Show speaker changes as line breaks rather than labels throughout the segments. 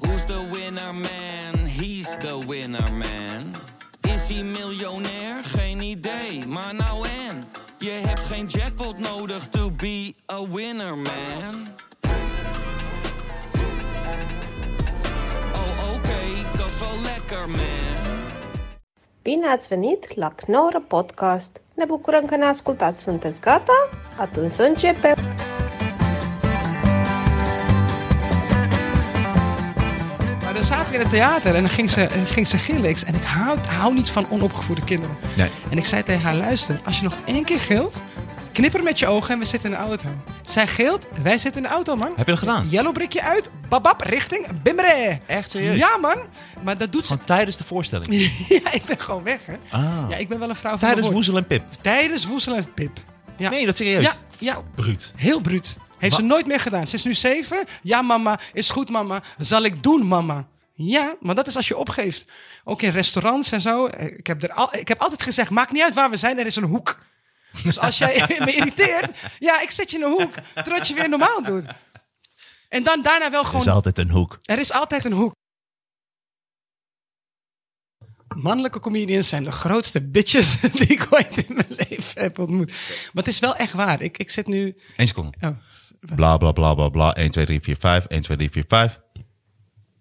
Who's the winner man? He's the winner man. Is hij miljonair? Geen idee, maar nou en. Je hebt geen jackpot nodig to be a winner man. Oh oké, dat is wel lekker man.
Bine ați venit la Knorr Podcast! Ne bucurăm că ne ascultați! Sunteți gata? Atunci să începem!
Maar dan zaten we in het theater en dan ging ze, en ging ze gillen. Ik zei, En ik hou, hou niet van onopgevoede kinderen.
Nee.
En ik zei tegen haar, luister, als je nog één keer gilt, knipper met je ogen en we zitten in de auto. Zij gilt, wij zitten in de auto, man.
Heb je dat gedaan?
Yellow brickje uit, babab, richting Bimre.
Echt serieus?
Ja, man. Maar dat doet ze...
Gewoon tijdens de voorstelling.
ja, ik ben gewoon weg, hè.
Ah.
Ja, ik ben wel een vrouw van
Tijdens
mijn woord.
Woezel en Pip.
Tijdens woesel en pip. Ja.
Nee, dat serieus.
Ja,
Zo
ja.
bruut.
Heel bruut. Heeft
Wa-
ze nooit meer gedaan. Ze is nu zeven. Ja, mama. Is goed, mama. Zal ik doen, mama. Ja, maar dat is als je opgeeft. Ook in restaurants en zo. Eh, Ik heb, er al, ik heb altijd gezegd, maakt niet uit waar we zijn, er is een hoek. Dus als jij me irriteert, ja, ik zet je in een hoek. Totdat je weer normaal doet. En dan daarna wel
Er is
gewoon,
altijd een hoek.
er is altijd een hoek. Mannelijke comedians zijn de grootste bitches die ik ooit in mijn leven heb ontmoet. Maar het is wel echt waar. Ik, ik zit nu...
Eén seconde.
Oh.
Bla, bla, bla, bla, bla. 1, 2, 3, 4, 5. 1, 2, 3, 4, 5.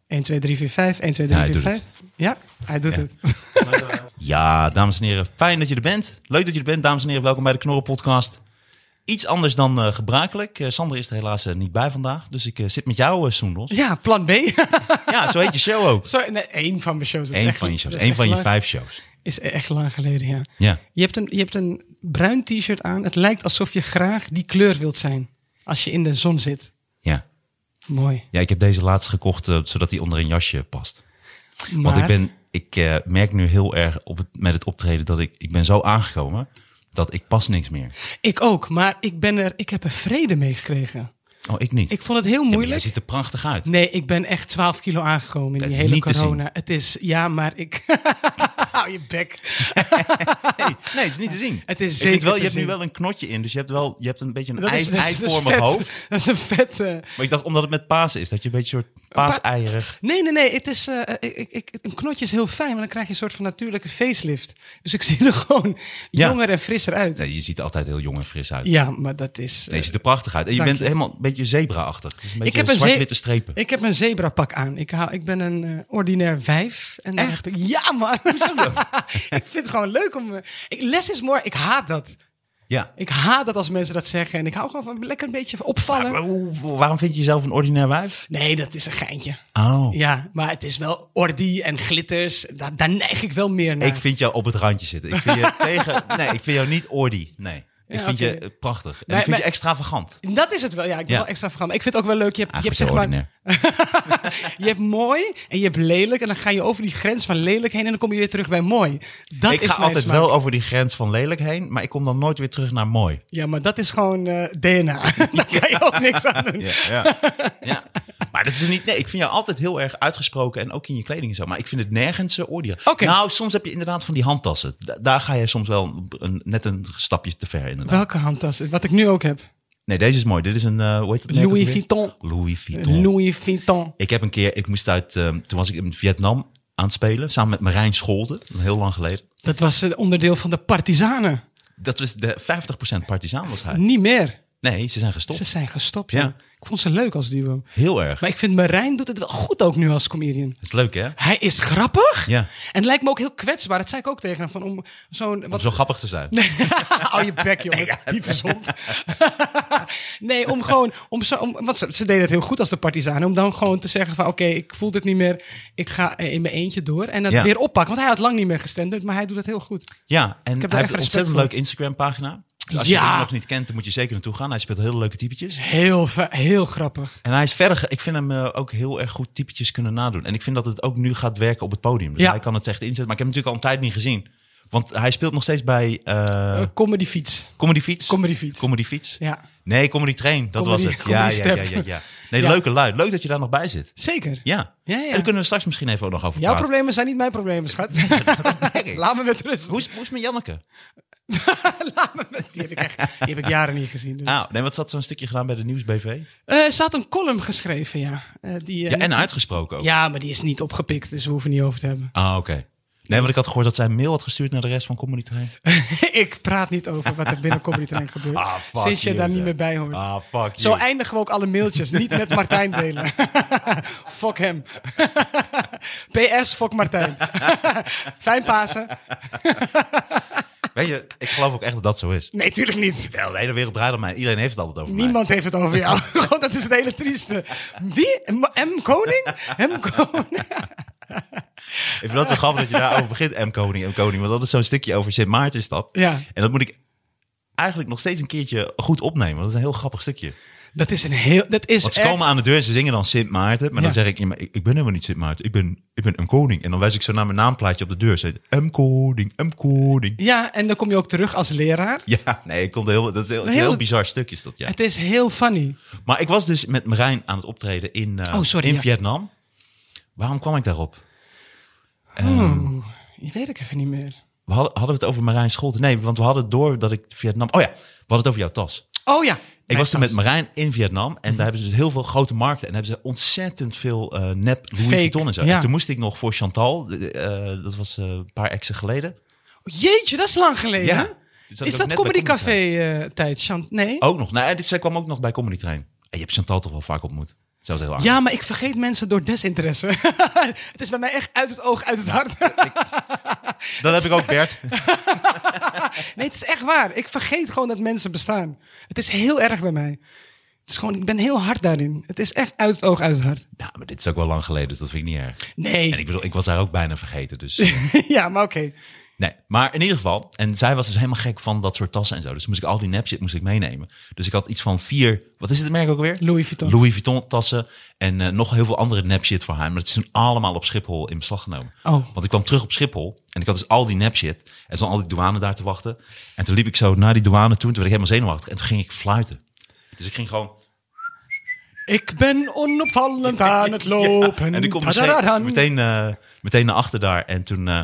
1, 2, 3, 4, 5. 1, 2, 3,
Ja, hij
4,
doet
5. Ja, hij doet het.
Ja, dames en heren. Fijn dat je er bent. Leuk dat je er bent, dames en heren. Welkom bij de Knorren podcast. Iets anders dan eh, gebruikelijk. Eh, Sander is er helaas eh, niet bij vandaag. Dus ik eh, zit met jou, eh Soendos.
Ja, plan B.
Ja, zo heet je show ook.
Sorry, nee, één van mijn shows. Dat is
Eén
echt-
van je shows.
dat is
Eén van
echt
je
lang-
vijf shows.
Is echt lang geleden, ja.
Ja.
Je hebt, een, je hebt een bruin t-shirt aan. Het lijkt alsof je graag die kleur wilt zijn. Als je in de zon zit.
Ja.
Mooi.
Ja, ik heb deze laatst gekocht, eh, zodat die onder een jasje past.
Maar,
Want ik, ben, ik eh, merk nu heel erg op het, met het optreden dat ik, ik ben zo aangekomen dat ik pas niks meer.
ik ook, maar ik, ben er, ik heb er vrede mee gekregen.
Oh, ik niet.
Ik vond het heel
Ja, maar
moeilijk. Nou,
jij ziet er prachtig uit.
Nee, ik ben echt 12 kilo aangekomen in
Dat
die
is
hele
niet te zien.
corona. Het is, ja, maar ik. Hou je bek.
Nee, nee, het is niet te zien.
Het is
Ik vind
zeker
wel,
te
je hebt nu
zien.
wel een knotje in, dus je hebt wel je hebt een beetje een
Dat
ei,
is, dat is- dat is
eivormig
vet.
hoofd.
Dat is een vet. eh,
Maar ik dacht, omdat het met Pasen is, dat je een beetje een soort paaseierig...
Nee, nee, nee. Het is, eh, ik, ik, ik- een knotje is heel fijn, maar dan krijg je een soort van natuurlijke facelift. Dus ik zie er gewoon
Ja.
jonger en frisser uit.
Nee, je ziet er altijd heel jong en fris uit.
Ja, maar dat is. eh,
Nee, je ziet er prachtig uit. En je
Dank
bent
je.
helemaal een beetje zebra-achtig. Het is een beetje
heb een ze-
zwart-witte strepen.
ik heb een zebrapak aan. Ik, hou, ik ben een eh, ordinair wijf. En dan
Echt?
heb ik- ja, man. ik vind het gewoon leuk om. eh, Ik, less is more. Ik haat dat.
Ja.
Ik haat dat als mensen dat zeggen. En ik hou gewoon van lekker een beetje opvallen.
Maar hoe- hoe- waarom vind je jezelf een ordinair wijf?
Nee, dat is een geintje.
Oh.
Ja, maar het is wel ordi en glitters. Daar, daar neig ik wel meer naar.
Ik vind jou op het randje zitten. Ik vind je tegen. Nee, ik vind jou niet ordy. Nee. Ik
Ja,
vind je
oké.
eh, prachtig. En
Nee,
ik vind
maar-
je extravagant.
Dat is het wel. Ja, ik ben
Ja.
wel extra vergaan. Maar ik vind het ook wel leuk. Je hebt, je hebt,
Eigenlijk
zeg
heel
maar, je hebt mooi en je hebt lelijk. En dan ga je over die grens van lelijk heen. En dan kom je weer terug bij mooi. Dat
ik
Ah, is
ga
mijn
altijd
smaak.
wel over die grens van lelijk heen, maar ik kom dan nooit weer terug naar mooi.
Ja, maar dat is gewoon eh, DNA. Daar kan je ook niks aan doen.
Ja, ja. ja. Maar dat is niet. Nee, ik vind jou altijd heel erg uitgesproken en ook in je kleding en zo. Maar ik vind het nergens zo ordy.
Oké.
Nou, soms heb je inderdaad van die handtassen. Da- daar ga je soms wel een, net een stapje te ver inderdaad.
Welke handtas? Wat ik nu ook heb.
Nee, deze is mooi. Dit is een. eh, hoe heet het merk
Louis
ook weer?
Vuitton.
Louis Vuitton.
Louis Vuitton.
Ik heb een keer, ik moest uit, ehm, toen was ik in Vietnam aan het spelen, samen met Marijn Scholten, heel lang geleden.
Dat was het onderdeel van de partizanen.
Dat was de 50% partizaan was hij.
Niet meer.
Nee, ze zijn gestopt.
Ze zijn gestopt.
Ah, Ja.
Ja. Ik vond ze leuk als duo.
Heel erg.
Maar ik vind Marijn doet het wel goed ook nu als comedian.
Dat is leuk, hè?
Hij is grappig.
Ja.
En het lijkt me ook heel kwetsbaar. Dat zei ik ook tegen hem. Van om zo'n.
Om
Wat...
zo grappig te zijn.
Hou je bek, jongen. Die verzond. nee, om gewoon. Om zo, om, want ze, ze deden het heel goed als de partizanen. Om dan gewoon te zeggen: van oké, ik voel dit niet meer. Ik ga eh, in mijn eentje door. En dat
Ja.
weer oppakken. Want hij had lang niet meer gestemd. Maar hij doet dat heel goed.
Ja, en
heb er
hij
echt
heeft een
respect
ontzettend
voor.
leuke Instagram-pagina. Dus als je
Ja.
hem nog niet kent, dan moet je zeker naartoe gaan. Hij speelt hele leuke typetjes.
Heel, ver- heel grappig.
En hij is verder, ge- ik vind hem eh, ook heel erg goed typetjes kunnen nadoen. En ik vind dat het ook nu gaat werken op het podium. Dus
Ja.
hij kan het echt inzetten. Maar ik heb hem natuurlijk al een tijd niet gezien. Want hij speelt nog steeds bij eh
Eh, comedy fiets.
Comedy Fiets.
Comedy Fiets.
Comedy Fiets.
Ja.
Nee, Comedy Train, dat
Comedy-
was het. Ja,
Comedy
ja, ja,
Step.
ja, ja. Nee,
Ja.
leuke lui. Leuk dat je daar nog bij zit.
Zeker.
Ja.
Ja, ja.
En daar kunnen we straks misschien even ook nog over
Jouw
praten.
problemen zijn niet mijn problemen, schat. Laat me met rust.
Hoe is, hoe is het met Janneke?
Laat me met- Die heb ik echt die heb ik jaren niet gezien. Dus.
Ah, nee, wat zat zo'n stukje gedaan bij de Nieuwsbv?
Eh, ze had een column geschreven, ja. Eh, die, eh,
Ja, en nou? uitgesproken ook.
ja, maar die is niet opgepikt, dus we hoeven het niet over te hebben.
Ah, oké. Nee, want ik had gehoord dat zij een mail had gestuurd naar de rest van Comedy Train.
ik praat niet over wat er binnen Comedy Train gebeurt.
Ah, fuck
sinds je
you,
daar
zeg.
niet meer bij hoort.
Ah, fuck
Zo
you.
eindigen we ook alle mailtjes. Niet met Martijn delen. fuck hem. PS, fuck Martijn. Fijn Pasen.
Weet je, ik geloof ook echt dat dat zo is.
Nee, tuurlijk niet.
Wel, de hele wereld draait om mij. Iedereen heeft het altijd over mij.
Niemand heeft het over jou. God, dat is het hele trieste. Wie? M. M. Koning? M. Koning?
Ik vind dat zo grappig dat je daarover begint, M. Koning, M. Koning. Want dat is zo'n stukje over Sint Maarten is dat.
Ja.
En dat moet ik eigenlijk nog steeds een keertje goed opnemen. Want dat is een heel grappig stukje.
Dat is een heel... Dat is
Want ze
echt-
komen aan de deur en ze zingen dan Sint Maarten. Maar dan
Ja.
zeg ik, ja, maar ik, ik ben helemaal niet Sint Maarten. Ik ben, ik ben M. Koning. En dan wijs ik zo naar mijn naamplaatje op de deur. Ze zegt, M. Koning, M. Koning.
Ja, en dan kom je ook terug als leraar.
Ja, nee, ik kom er heel, dat is heel, het is een
Heel-
heel bizar stukje is dat, ja.
Het is heel funny.
Maar ik was dus met Marijn aan het optreden in, eh,
Oh, sorry,
in
ja.
Vietnam. Waarom kwam ik daarop? Hmm.
Je weet ik even niet meer.
We hadden, hadden we het over Marijn Scholte? Nee, want we hadden het door dat ik Vietnam... Oh ja, we hadden het over jouw tas.
Oh ja.
Ik was toen met Marijn in Vietnam
Mhm.
en daar hebben ze dus heel veel grote markten en hebben ze ontzettend veel eh, nep Louis
Fake,
Vuitton en zo.
ja.
En toen moest ik nog voor Chantal, de- de, eh, dat was eh, een paar exen geleden.
Jeetje, dat is lang geleden.
Ja.
hè?
Toen zat
Is
ik ook
dat
net
Comedy
bij Comedy
Café eh, tijd? Chant nee.
Ook nog. Nee, dus zij kwam ook nog bij Comedy Train. En je hebt Chantal toch wel vaak ontmoet. Zelfs heel aardig.
Ja, maar ik vergeet mensen door desinteresse. het is bij mij echt uit het oog, uit het hart.
Dan heb ik ook Bert.
nee, het is echt waar. Ik vergeet gewoon dat mensen bestaan. Het is heel erg bij mij. Het is gewoon, ik ben heel hard daarin. Het is echt uit het oog, uit het hart.
nou, maar dit is ook wel lang geleden, dus dat vind ik niet erg. En
Nee.
ik bedoel, ik was haar ook bijna vergeten, dus...
ja, maar oké.
Nee, maar in ieder geval. En zij was dus helemaal gek van dat soort tassen en zo. Dus moest ik al die nep shit moest ik meenemen. Dus ik had iets van vier. Wat is het merk ook weer?
Louis Vuitton.
Louis Vuitton tassen en eh, nog heel veel andere nep shit voor haar. Maar dat is toen allemaal op Schiphol in beslag genomen.
Oh.
Want ik kwam terug op Schiphol en ik had dus al die nep shit. En stond al die douane daar te wachten. En toen liep ik zo naar die douane toe. En toen werd ik helemaal zenuwachtig. En toen ging ik fluiten. Dus ik ging gewoon...
Ik ben onopvallend aan het lopen.
En ik kom
Tadadadan.
meteen, meteen, eh, meteen naar achter daar. En toen, eh,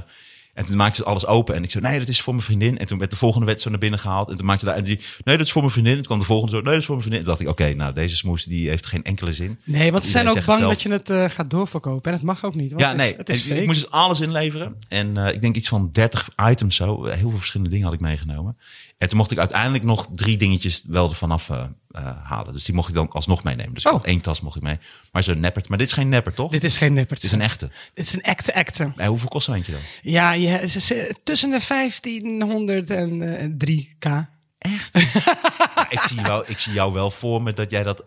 en toen maakte ze alles open. En ik zei, nee, dat is voor mijn vriendin. En toen werd de volgende wet zo naar binnen gehaald. En toen maakte daar, en die, nee, dat is voor mijn vriendin. En toen kwam de volgende zo, nee, dat is voor mijn vriendin. En toen dacht ik, oké, nou, deze smoes, die heeft geen enkele zin.
Nee, want ze zijn
Iedereen
ook bang
zegt
dat
hetzelfde.
je het eh, gaat doorverkopen. En dat mag ook niet. Want
Ja,
het
nee,
is- het is
ik, ik
fake.
moest dus alles inleveren. En eh, ik denk iets van 30 items zo. Heel veel verschillende dingen had ik meegenomen. En toen mocht ik uiteindelijk nog drie dingetjes wel ervan af eh, eh, halen. Dus die mocht ik dan alsnog meenemen. Dus ik
Oh.
had één tas mocht ik mee. Maar zo'n neppert. Maar dit is geen nepper, toch?
Dit is geen neppert.
Het is een echte.
Het is een acte acte.
Hey, hoeveel kost zo'n eentje dan?
Ja, ja ze- ze- tussen de 1500 en eh, 3k.
ik, zie wel, ik zie jou wel voor me dat jij dat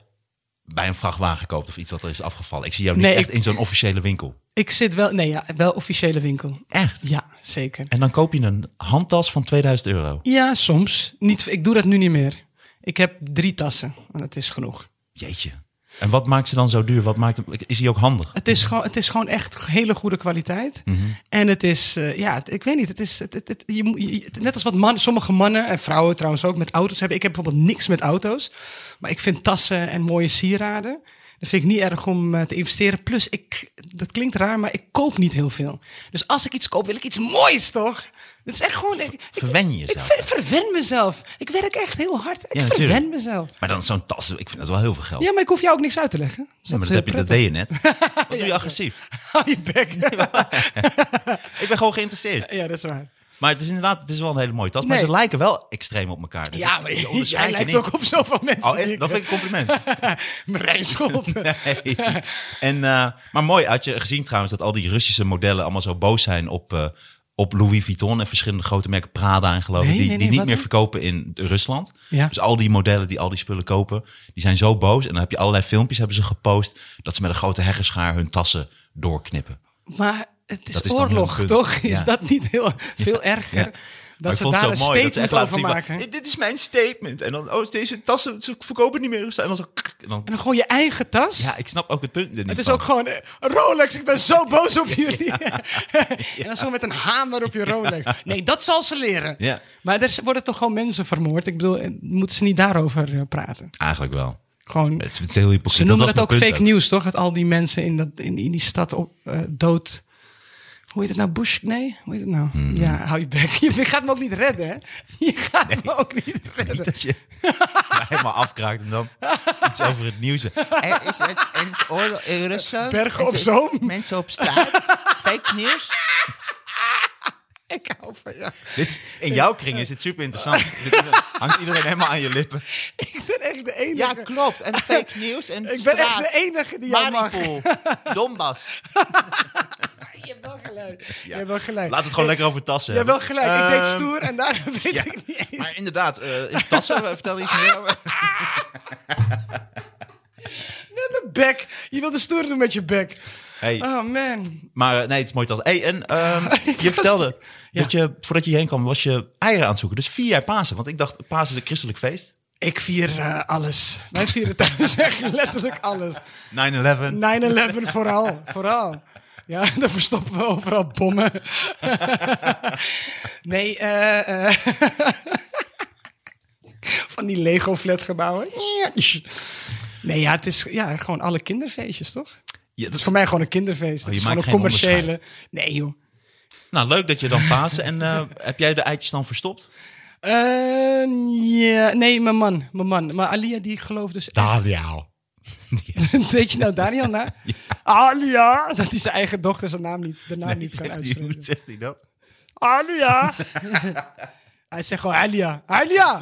bij een vrachtwagen koopt of iets wat er is afgevallen. Ik zie jou niet
Nee,
echt
ik-
in zo'n officiële winkel.
Ik zit wel, nee, ja, wel officiële winkel.
Echt?
Ja, zeker.
En dan koop je een handtas van 2000 euro.
Ja, soms. Niet, ik doe dat nu niet meer. Ik heb drie tassen. En dat is genoeg.
Jeetje. En wat maakt ze dan zo duur? Wat maakt hem, is die ook handig?
Het is gewoon, het is gewoon echt hele goede kwaliteit.
Mhm.
En het is, eh, ja, het- ik weet niet. Het is, het, het, het- je, moet- je- het- net als wat mannen, sommige mannen en vrouwen trouwens ook met auto's hebben. Ik heb bijvoorbeeld niks met auto's. Maar ik vind tassen en mooie sieraden. Dat vind ik niet erg om eh, te investeren. Plus, ik, dat klinkt raar, maar ik koop niet heel veel. Dus als ik iets koop, wil ik iets moois, toch? Dat is echt gewoon... Ik, ik-
Verwen je
ik
jezelf.
ver- verwen mezelf. Ik werk echt heel hard. Ik
Ja,
verwen
natuurlijk.
mezelf.
Maar dan zo'n tas, ik vind dat wel heel veel geld.
Ja, maar ik hoef jou ook niks uit te leggen. Dus
Ja, maar
is
dat, heb je,
heel
dat
prettig.
deed je net. Wat doe je agressief?
Hou je bek.
Ik ben gewoon geïnteresseerd.
Ja, dat is waar.
Maar het is inderdaad, het is wel een hele mooie tas. Maar
Nee.
ze lijken wel extreem op elkaar. Dus
Ja,
dat-
maar
je
jij,
onderscheidt je
lijkt
niet.
ook op zoveel mensen.
Oh, is, dat vind ik een compliment.
Marijn Scholten.
Nee. En, eh, maar mooi, had je gezien trouwens dat al die Russische modellen allemaal zo boos zijn op, eh, op Louis Vuitton en verschillende grote merken, Prada en geloof ik,
Nee,
die,
nee, nee,
die niet
wat
meer
dan?
verkopen in Rusland.
Ja.
Dus al die modellen die al die spullen kopen, die zijn zo boos. En dan heb je allerlei filmpjes hebben ze gepost dat ze met een grote heggeschaar hun tassen doorknippen.
Maar het is,
Dat is dan
oorlog,
hun punt.
toch? Is
Ja.
dat niet heel, veel erger?
Ja.
Dat ze
Maar ik
daar
vond
een
het zo mooi dat ze
statement
echt laten
over
zien van,
maken.
"Eh, dit is mijn statement. En dan, oh, deze tassen ze verkopen niet meer. En dan zo... klik, En dan,
En dan gewoon je eigen tas.
ja, ik snap ook het punt er niet
het is
van.
ook gewoon eh, Rolex, ik ben zo boos op jullie. en dan zo met een hamer op je Rolex. Nee, dat zal ze leren.
Ja.
Maar er worden toch gewoon mensen vermoord? Ik bedoel, eh, moeten ze niet daarover eh, praten?
Eigenlijk wel.
Gewoon,
Het, is- het is heel hypocriet.
ze noemen
was
dat,
mijn
ook
punt
fake news, toch? Dat al die mensen in, dat, in, in die stad op, eh, dood... Hoe heet het nou? Bush? Nee? Hoe heet het nou?
Hmm.
Ja, hou je bek. Je gaat me ook niet redden, hè? Je gaat me ook niet redden.
Niet dat je mij helemaal afkraakt en dan iets over het nieuws.
Er is, het, er is oorlog in Rusland.
Bergen
Er
op
zitten
Zoom.
Mensen op straat. Fake nieuws.
Ik hou van jou.
Dit, in jouw kring is het super interessant. Dit hangt iedereen helemaal aan je lippen.
Ik ben echt de enige.
Ja, klopt. En fake nieuws. En
ik ben echt
straat.
de enige die jou mag.
Mariupol. Donbass.
Je hebt wel gelijk. Je hebt wel gelijk.
Laat het gewoon lekker over tassen.
Je hebt wel
hebben.
gelijk. ik deed
Ehm,
stoer en daar weet
ja.
ik niet eens.
Maar inderdaad, eh, in tassen, eh, vertel iets meer over.
Met mijn bek. Je wilde stoer doen met je bek.
Hey,
Oh man.
maar eh, nee, het is mooi dat. Hey, en ehm, je
was-
vertelde dat je, voordat je hierheen kwam, was je eieren aan het zoeken. Dus vier jaar Pasen. Want ik dacht, Pasen is een christelijk feest. 9-11.
Ik vier eh, alles. Wij vieren thuis echt letterlijk alles. 9-11 Nou- vooral. Vooral. Ja, dan verstoppen we overal bommen. nee, eh... eh, Van die Lego-flatgebouwen. Nee, ja, het is ja, gewoon alle kinderfeestjes, toch? Het
Ja,
is
dat-
voor mij gewoon een kinderfeest. het
Oh, je
is gewoon
maakt
een
geen
commerciële. Nee, joh.
nou, leuk dat je dan Pasen. En eh, heb jij de eitjes dan verstopt?
Eh, ja, nee, mijn man. Mijn man. Maar Alia, die gelooft dus echt.
Daniel.
Weet je nou Daniel na? Alia! Dat is zijn eigen dochter zijn naam niet, de naam niet kan
Zegt hij, hoe
uitspreken.
zegt hij dat?
Alia! Hij zegt gewoon Alia. Alia!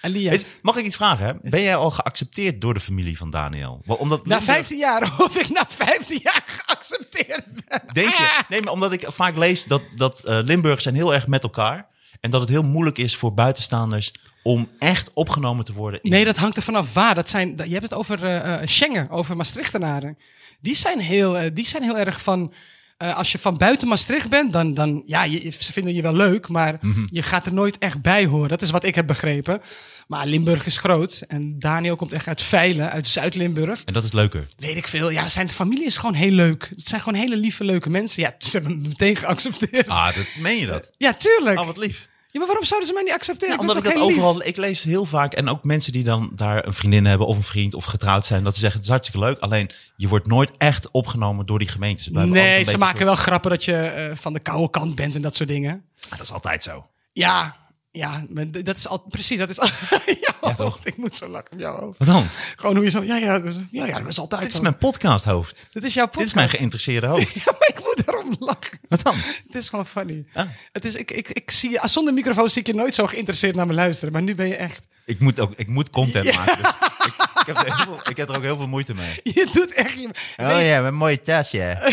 Alia.
Is- mag ik iets vragen? Hè? Ben jij al geaccepteerd door de familie van Daniel? Wel, Omdat
Na
Linda-
15 jaar, of ik na 15 jaar geaccepteerd ben.
Denk je?
Ah!
Nee, maar omdat ik vaak lees dat, dat eh, Limburg zijn heel erg met elkaar. En dat het heel moeilijk is voor buitenstaanders om echt opgenomen te worden. in-
Nee, dat hangt er vanaf waar. Dat zijn, dat- je hebt het over eh, eh, Schengen, over Maastrichtenaren. Die zijn heel, eh, die zijn heel erg van. eh, als je van buiten Maastricht bent, dan, dan ja, je, ze vinden je wel leuk, maar je gaat er nooit echt bij horen. Dat is wat ik heb begrepen. Maar Limburg is groot en Daniel komt echt uit Veilen, uit Zuid-Limburg.
En dat is leuker.
Weet ik veel. Ja, zijn familie is gewoon heel leuk. Het zijn gewoon hele lieve, leuke mensen. Ja, ze hebben me meteen geaccepteerd.
Ah, dat meen je dat?
Ja, tuurlijk.
Ah, wat lief.
Ja, maar waarom zouden ze mij niet accepteren? ik
Ja,
ben
omdat ik
toch
dat
heel lief?
overal... Ik lees heel vaak, en ook mensen die dan daar een vriendin hebben... of een vriend of getrouwd zijn, dat ze zeggen... het is hartstikke leuk, alleen je wordt nooit echt opgenomen door die gemeentes. Ze blijven altijd
Nee,
een
ze
beetje
maken wel grappen dat je eh, van de koude kant bent en dat soort dingen.
soort- Ah, Dat is altijd zo.
Ja, ja, maar d- dat is al precies. Dat is al. jouw
Ja, toch?
hoofd. Ik moet zo lachen op jouw hoofd.
Wat dan?
Gewoon hoe je zo. Ja, ja, dat is, ja, ja, dat is altijd.
Dit is
zo.
mijn podcasthoofd.
Dit is jouw
Dit is
podcast.
mijn geïnteresseerde hoofd.
Ja, maar ik moet daarom lachen.
Wat dan?
Het is gewoon funny.
Ah.
Het is, ik, ik, ik zie je, zonder microfoon zie ik je nooit zo geïnteresseerd naar me luisteren. Maar nu ben je echt.
Ik moet, ook, ik moet content
Ja.
maken. dus ik, ik, heb er heel veel- ik heb er ook heel veel moeite mee.
Je doet echt. Je,
Oh ja, met een mooie tas, ja.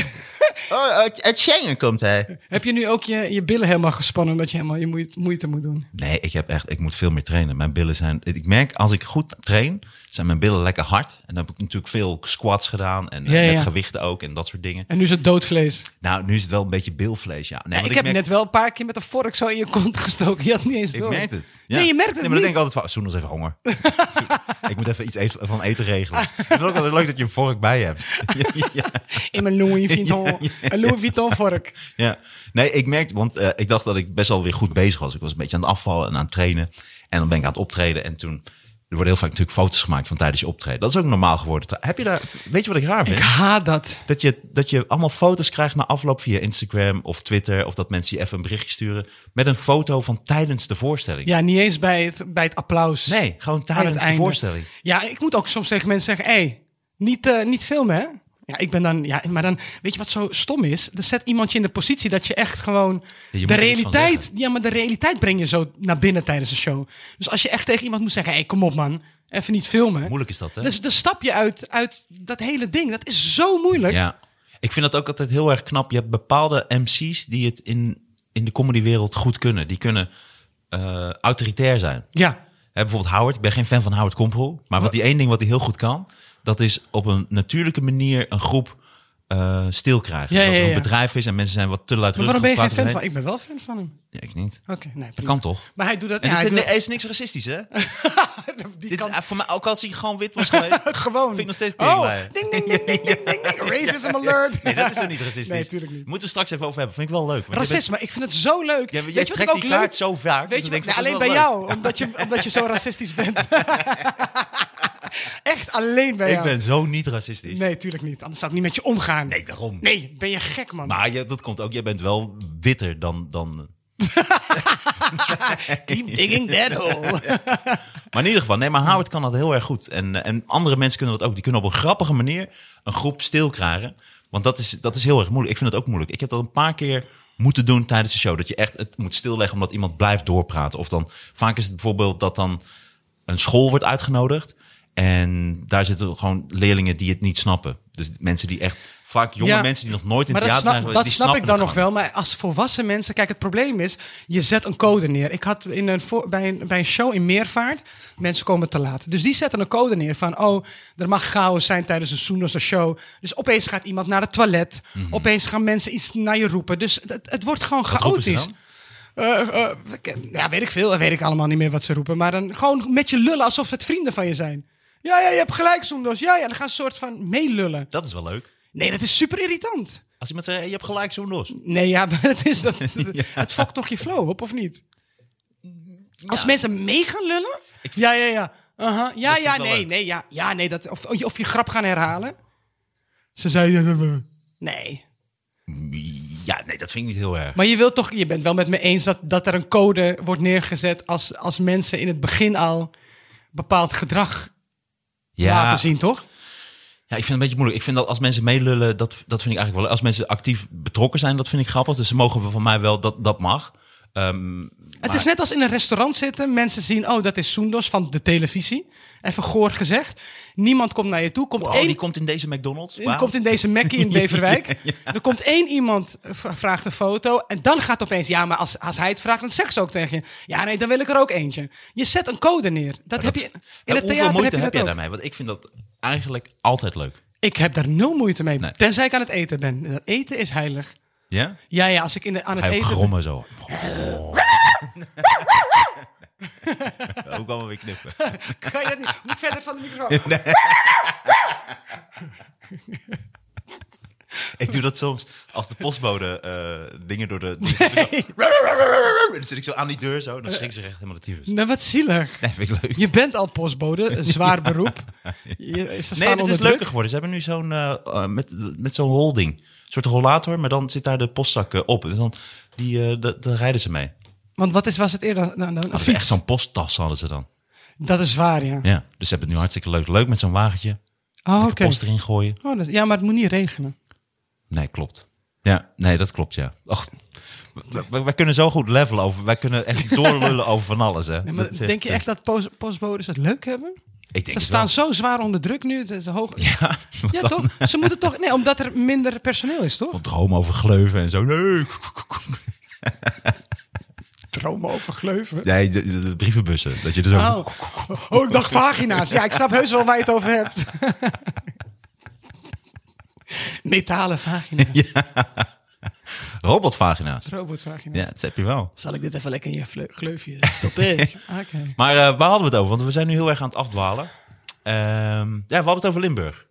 Oh, uit, uit Schengen komt hij.
Heb je nu ook je, je billen helemaal gespannen omdat je helemaal je moeite, moeite moet doen?
Nee, ik heb echt, ik moet veel meer trainen. Mijn billen zijn, ik merk als ik goed train, zijn mijn billen lekker hard. En dan heb ik natuurlijk veel squats gedaan en eh,
Ja,
met
ja.
gewichten ook en dat soort dingen.
En nu is het doodvlees.
Nou, nu is het wel een beetje bilvlees, ja. Nee, want
ik, heb
merk-
net wel een paar keer met een vork zo in je kont gestoken. Je had niet eens
Ik
door.
merk het. Ja.
Nee, je merkt het
maar dan
niet.
denk ik altijd van, zoen ons even honger. ik moet even iets eten- van eten regelen. ik vind het ook altijd leuk dat je een vork bij je hebt. ja.
In mijn Louis Vuitton, een Louis Vuitton vork.
Ja, nee, ik merkte, want eh, ik dacht dat ik best wel weer goed bezig was. Ik was een beetje aan het afvallen en aan het trainen. En dan ben ik aan het optreden en toen... Er worden heel vaak natuurlijk foto's gemaakt van tijdens je optreden. Dat is ook normaal geworden. Heb je daar, weet je wat ik raar vind?
Ik haat dat.
Dat je, dat je allemaal foto's krijgt na afloop via Instagram of Twitter. Of dat mensen je even een berichtje sturen met een foto van tijdens de voorstelling.
Ja, niet eens bij het, bij het applaus.
Nee, gewoon
Aan
tijdens de
einde.
voorstelling.
Ja, ik moet ook soms tegen mensen zeggen, hé, hey, niet, eh, niet filmen hè. Ja, ik ben dan, ja, maar dan, weet je wat zo stom is? Dan zet iemand je in de positie dat je echt gewoon
je moet
de
er iets van
realiteit,
zeggen.
ja, maar de realiteit breng je zo naar binnen tijdens een show. Dus als je echt tegen iemand moet zeggen, hé, hey, kom op man, even niet filmen.
Moeilijk is dat, hè?
Dus dan stap je uit, uit dat hele ding. Dat is zo moeilijk.
Ja. Ik vind dat ook altijd heel erg knap. Je hebt bepaalde MC's die het in, in de comedywereld goed kunnen. Die kunnen eh, autoritair zijn.
ja.
Hè, bijvoorbeeld Howard. Ik ben geen fan van Howard Kompel. Maar wat die één ding wat hij heel goed kan, dat is op een natuurlijke manier een groep eh, stil krijgen.
Ja,
dus als
ja,
er een
ja.
bedrijf is en mensen zijn wat te
Maar
luidruchtig.
waarom ben je
of
geen fan
kwaad
van?
of nee.
Ik ben wel fan van hem.
Ja, ik niet.
Oké, nee,
Dat
prima.
kan toch?
Maar hij doet dat.
En
Ja,
dit
hij
is,
doet
nee, is niks racistisch, hè?
dat- die
Dit
kan
is, eh, voor mij, ook als hij gewoon wit was geweest,
gewoon.
vind ik nog steeds
Oh,
teringlaaier.
ding, ding, ding, ding, ding, ding, ding. Racism alert.
Nee, dat is toch niet racistisch?
Nee, tuurlijk niet.
Moeten we straks even over hebben. Vind ik wel leuk. want je bent-
Racisme, ik vind het zo leuk.
Jij, jij
Weet je wat
trekt
ik ook
die kaart
leuk
zo vaak.
Weet
dus
je,
dan
wat- nee,
denk ik,
alleen
dat
bij
is wel leuk.
jou, omdat je, omdat je zo racistisch bent. Echt alleen bij
Ik
jou.
ben zo niet racistisch.
Nee, tuurlijk niet. Anders zou ik niet met je omgaan.
Nee, daarom.
Nee, ben je gek, man.
Maar je, dat komt ook, jij bent wel witter dan... dan
Keep digging that hole.
maar in ieder geval, nee, maar Howard kan dat heel erg goed. En, eh, en andere mensen kunnen dat ook. Die kunnen op een grappige manier een groep stil krijgen. Want dat is, dat is heel erg moeilijk. Ik vind dat ook moeilijk. Ik heb dat een paar keer moeten doen tijdens de show. Dat je echt het moet stilleggen omdat iemand blijft doorpraten. Of dan, vaak is het bijvoorbeeld dat dan een school wordt uitgenodigd. En daar zitten gewoon leerlingen die het niet snappen. Dus mensen die echt, vaak jonge
Ja.
mensen die nog nooit in
maar
het
dat
theater
snap,
zijn geweest.
dat
die
snap
snappen
ik dan
het
nog
gewoon.
wel. Maar als volwassen mensen... Kijk, het probleem is, je zet een code neer. Ik had in een, voor- bij, een, bij een show in Meervaart, mensen komen te laat. Dus die zetten een code neer van... oh, er mag chaos zijn tijdens een Soenos show. Dus opeens gaat iemand naar het toilet.
Mhm.
Opeens gaan mensen iets naar je roepen. Dus het, het wordt gewoon
roepen ze
chaotisch.
dan?
Eh, eh, ja, weet ik veel. Dat weet ik allemaal niet meer wat ze roepen. Maar dan gewoon met je lullen alsof het vrienden van je zijn. Ja, ja, je hebt gelijk, Soendos. Ja, ja, dan gaan ze een soort van meelullen.
Dat is wel leuk.
Nee, dat is super irritant.
Als iemand zegt, hey, je hebt gelijk zo'n los.
Nee, ja, maar het is dat. Het fokt toch je flow op, of niet? Als mensen mee gaan lullen? Ja, ja, ja. Aha. Ja,
vind ik
ja,
wel
nee,
leuk.
nee, ja. Ja, nee, dat, of, of je grap gaan herhalen. Ze zei. Nee.
Ja, nee, dat vind ik niet heel erg.
Maar je wilt toch, je bent wel met me eens dat, dat er een code wordt neergezet als, als mensen in het begin al bepaald gedrag laten zien, toch?
Ja, ik vind het een beetje moeilijk. Ik vind dat als mensen meelullen, dat, dat vind ik eigenlijk wel. Als mensen actief betrokken zijn, dat vind ik grappig. Dus ze mogen van mij wel, dat, dat mag. Ehm,
Het
maar-
is net als in een restaurant zitten. Mensen zien, oh, dat is Soendos van de televisie. Even goor gezegd. Niemand komt naar je toe. Komt
Wow,
één
Oh, die komt in deze McDonald's.
En
Wauw.
komt in deze Mackie in Beverwijk. Er komt één iemand, eh, v- vraagt een foto. En dan gaat opeens, ja, maar als, als hij het vraagt, dan zegt ze ook tegen je. Ja, nee, dan wil ik er ook eentje. Je zet een code neer. Dat,
Maar
heb
dat
je,
is-
in het
hoeveel
theater heb
moeite
je
heb
dat
jij
ook.
daarmee? Want ik vind dat eigenlijk altijd leuk.
Ik heb daar nul moeite mee.
Nee.
Tenzij ik aan het eten ben. Dat eten is heilig.
Ja?
Ja, ja, als ik in de, aan het
Ga je ook
eten
grommen zo. ook allemaal weer knippen.
ben. Kan je dat niet? Moet ik verder van de microfoon?
Ik doe dat soms als de postbode eh, dingen door de... dingen door de- Dan zit ik zo aan die deur zo, dan schrik ze echt helemaal de tyfus.
Nou, wat zielig.
Nee, vind ik leuk.
Je bent al postbode, een zwaar beroep. Je, ze
Nee,
staan
dat
onder
is
druk.
leuker geworden. Ze hebben nu zo'n eh, eh, met, met zo'n holding. Een soort rollator, maar dan zit daar de postzak eh, op. En dan die, eh, da- daar rijden ze mee.
Want wat is, was het eerder? Nou, nou, een
Hadden ze Ah, echt
fiets.
zo'n posttas hadden ze dan.
Dat is waar, ja.
Ja, dus ze hebben het nu hartstikke leuk. Leuk met zo'n wagentje.
Oh, oké.
Lekker Post erin gooien.
Oh, dat, ja, maar het moet niet regenen.
Nee, klopt. Ja, nee, dat klopt, ja. Och, w- w- wij kunnen zo goed levelen over. Wij kunnen echt doorlullen over van alles, hè.
Nee, maar
Dat is eh,
denk je echt dat pos- postbodes het leuk hebben?
Ik denk
Ze
het wel.
staan zo zwaar onder druk nu. Het is hoog... Ja,
Ja, want dan-
toch? Ze moeten toch... Nee, omdat er minder personeel is, toch?
Want droom over gleuven en zo. Nee,
Dromen over gleuven.
nee de, de- de brievenbussen. Dat je dus er zo...
Oh. oh, ik dacht vagina's. Ja, ik snap heus wel waar je het over hebt. Metalen vagina's.
Robotvagina's.
Robotvagina's.
Ja, dat heb je wel.
Zal ik dit even lekker in je vleu- gleufje stoppen? Oké.
Maar eh, waar hadden we het over? Want we zijn nu heel erg aan het afdwalen. Ehm, ja, we hadden het over Limburg.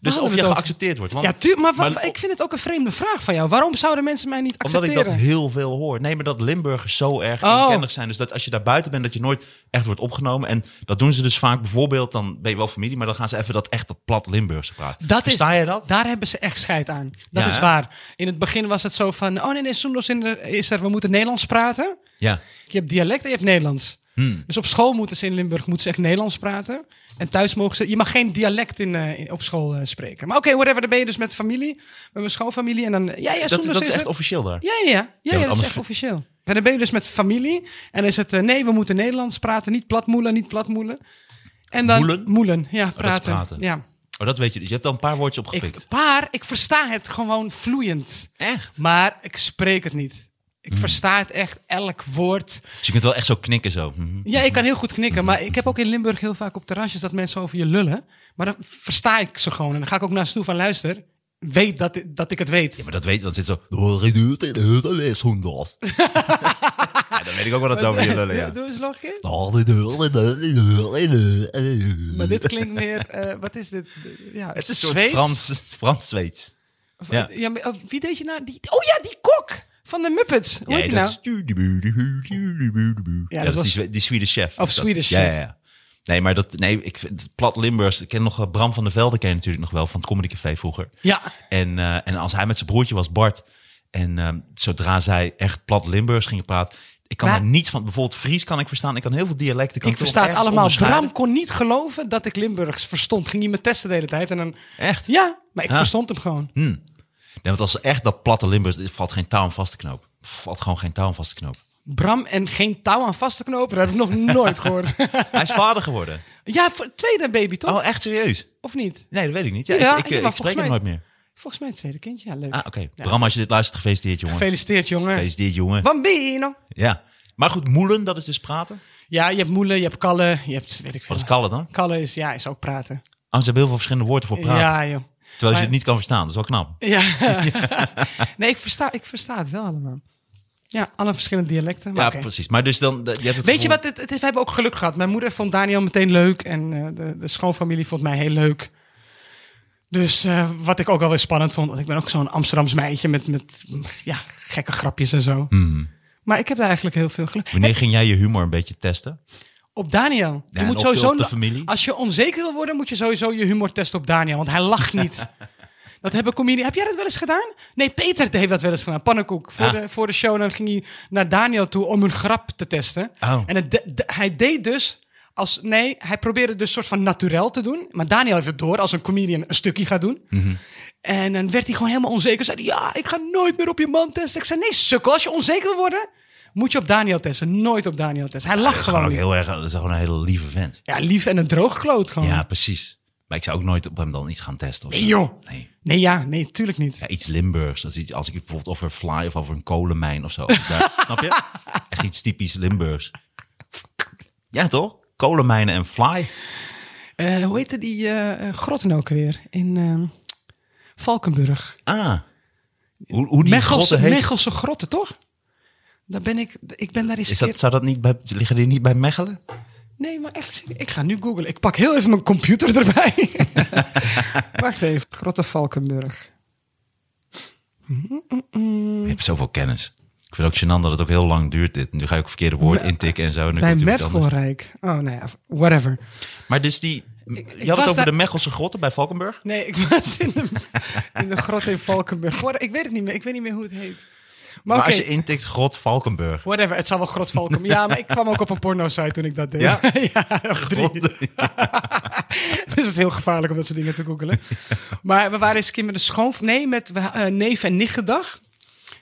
Dus
hadden we
of
het
je
over?
geaccepteerd wordt. Want,
Ja, tuur, maar, wa-
maar-
ik vind het ook een vreemde vraag van jou. Waarom zouden mensen mij niet
omdat
accepteren?
ik dat heel veel hoor. Nee, maar dat Limburgers zo erg
Oh.
inkennig zijn. Dus dat als je daar buiten bent, dat je nooit echt wordt opgenomen. En dat doen ze dus vaak bijvoorbeeld, dan ben je wel familie, maar dan gaan ze even dat echt dat plat Limburgse praten.
Dat is,
Versta je dat?
Daar hebben ze echt scheid aan. Dat
Ja,
is
hè?
waar. In het begin was het zo van... Oh nee, nee, Soendos in de- is er... We moeten Nederlands praten.
Ja.
Je hebt dialect en je hebt Nederlands.
Hmm.
Dus op school moeten ze in Limburg moeten ze echt Nederlands praten. En thuis mogen ze... Je mag geen dialect in, eh, in- op school eh, spreken. Maar oké, whatever. Dan ben je dus met familie. Met mijn schoonfamilie. En dan... Ja, ja,
Dat,
Soendos
dat is
er.
echt officieel daar.
Ja, ja, ja. ja, ja, dat is
anders-
echt officieel. En dan ben je dus met familie. En dan is het... eh, nee, we moeten Nederlands praten. Niet platmoelen, niet platmoelen. En dan...
Moelen? Oh,
ja.
is
Praten.
praten.
Ja.
Oh, dat weet je. Dus je hebt al een paar woordjes opgepikt.
Ik, paar, ik versta het gewoon vloeiend.
Echt? Hmm.
Maar ik spreek het niet. Ik versta het echt, elk woord.
Dus je kunt wel echt zo knikken zo. Mhm.
Ja, ik kan heel goed knikken. Maar ik heb ook in Limburg heel vaak op terrasjes dat mensen over je lullen. Maar dan versta ik ze gewoon. En dan ga ik ook naar ze toe van, luister, weet dat, dat ik het weet.
Ja, maar dat weet je, dan zit zo... "Oh, duurt in de les, hondas." Ja, Dan weet ik ook wel dat zo over je lullen, ja.
Doe eens nog een keer.
"Oh, dit duurt in de les."
Maar dit klinkt meer... eh, wat is dit? Ja,
Het is een soort
Zweeds?
Frans- Frans-Zweeds.
Of-
ja.
maar, eh, wie deed je nou? Die, oh ja, die kok van de Muppets. Hoe heet die nou?
dat is- Ja,
was-
dat is die, Zwe- die Swedish chef.
Of
Is dat.
Swedish
ja,
chef.
Ja, ja. Nee, maar dat, nee, ik vind het plat Limburgs. Ik ken nog eh, Bram van der Velde, ken je natuurlijk nog wel van het Comedy Café vroeger.
Ja.
En, eh, en als hij met zijn broertje was, Bart. En eh, zodra zij echt plat Limburgs gingen praten. Ik kan
Maar-
er niets van. Bijvoorbeeld Fries kan ik verstaan. Ik kan heel veel dialecten. Kan
Ik
toch
versta het
ergens
allemaal.
onderscheiden.
Bram kon niet geloven dat ik Limburgs verstond. Ging hij me testen de hele tijd. En dan,
Echt?
ja, maar ik
Ja.
verstond hem gewoon.
Nee, want als echt dat platte Limburgs. er valt geen touw aan vast te knopen. Valt gewoon geen touw aan vast te knopen.
Bram en geen touw aan vast te knopen, dat heb ik nog nooit gehoord.
Hij is vader geworden.
ja, voor- tweede baby toch?
Oh, echt serieus?
Of niet?
Nee, dat weet ik niet. Ja,
Ja,
ik, ik,
ja,
eh,
maar
ik spreek
volgens
hem
mij-
nooit meer.
Volgens mij het tweede kindje. Ja, leuk.
Ah, oké.
Ja.
Bram, als je dit luistert, gefeliciteerd, jongen.
Gefeliciteerd, jongen.
Gefeliciteerd, jongen.
Bambino.
Ja. Maar goed, moelen, dat is dus praten.
Ja, je hebt moelen, je hebt kallen, je hebt weet ik veel.
Wat is kallen dan?
Kallen is, ja, is ook praten.
Oh, ze hebben heel veel verschillende woorden voor praten.
Ja, joh.
terwijl je
maar-
het niet kan verstaan. Dat is wel knap.
Ja. nee, ik versta, ik versta het wel allemaal. Ja, alle verschillende dialecten. Maar
Ja,
oké.
precies. Maar dus dan... de- Je hebt het
Weet je
gevoel-
wat? Het, het is, we hebben ook geluk gehad. Mijn moeder vond Daniel meteen leuk en eh, de, de schoonfamilie vond mij heel leuk. Dus eh, wat ik ook wel weer spannend vond, want ik ben ook zo'n Amsterdams meisje met, met ja, gekke grapjes en zo.
Hmm.
Maar ik heb daar eigenlijk heel veel geluk.
Wanneer ging jij je humor een beetje testen?
Op Daniel.
en
je moet
op-
sowieso,
op de familie?
Als je onzeker wil worden, moet je sowieso je humor testen op Daniel. Want hij lacht niet. dat hebben comedie. Heb jij dat wel eens gedaan? Nee, Peter heeft dat wel eens gedaan. Pannenkoek. Voor,
Ah.
de, voor de show dan ging hij naar Daniel toe om een grap te testen.
Oh.
En het de- de- hij deed dus. Als, nee, hij probeerde dus soort van naturel te doen. Maar Daniel heeft het door als een comedian een stukje gaat doen.
Mhm.
En dan werd hij gewoon helemaal onzeker. Zei hij, ja, ik ga nooit meer op je man testen. Ik zei, nee, sukkel. Als je onzeker wil worden, moet je op Daniel testen. Nooit op Daniel testen. Hij lacht
Dat is
gewoon
Ah, gewoon ook
niet.
heel erg... Dat is gewoon een hele lieve vent.
Ja, lief en een droog kloot gewoon.
Ja, precies. Maar ik zou ook nooit op hem dan iets gaan testen. of
Oh. Nee,
zo.
joh.
Nee.
Nee, ja, nee, tuurlijk niet.
Ja, iets Limburgs. Dat is iets, als ik het bijvoorbeeld over fly of over een kolenmijn of zo. Als ik daar- snap je? Echt iets typisch Limburgs. Ja, toch? Kolenmijnen en fly.
Eh, hoe heette die eh, eh, grotten ook weer? In ehm, Valkenburg.
Ah. Hoe, hoe die
Mechelse,
grotten heet.
Mechelse grotten, toch? Daar ben ik, ik ben daar eens
Is
een
dat,
keer-
zou dat niet bij, liggen die niet bij Mechelen?
Nee, maar echt, serieus, ik ga nu googlen. Ik pak heel even mijn computer erbij. Wacht even, grotten Valkenburg. Mm.
Je hebt zoveel kennis. Ik vind ook gênant dat het ook heel lang duurt dit. Nu ga ik ook verkeerde woord intikken en zo. En nu
Bij
komt er iets anders.
Mervelrijk. Oh, nou ja, whatever.
Maar dus die...
ik was
je had het over
daar-
de Mechelse grotten bij Valkenburg?
Nee, ik was in de, in de grot in Valkenburg. Whatever, Ik weet het niet meer. Ik weet niet meer hoe het heet. Maar,
Maar
oké.
als je intikt grot Valkenburg.
Whatever, het zal wel grot valken. Ja, maar ik kwam ook op een porno-site toen ik dat deed.
Ja?
op drie.
Grot,
Dus het is heel gevaarlijk om dat soort dingen te googelen. Maar we waren eens een keer met een schoonf... Nee, met eh, neef en nichtgedag.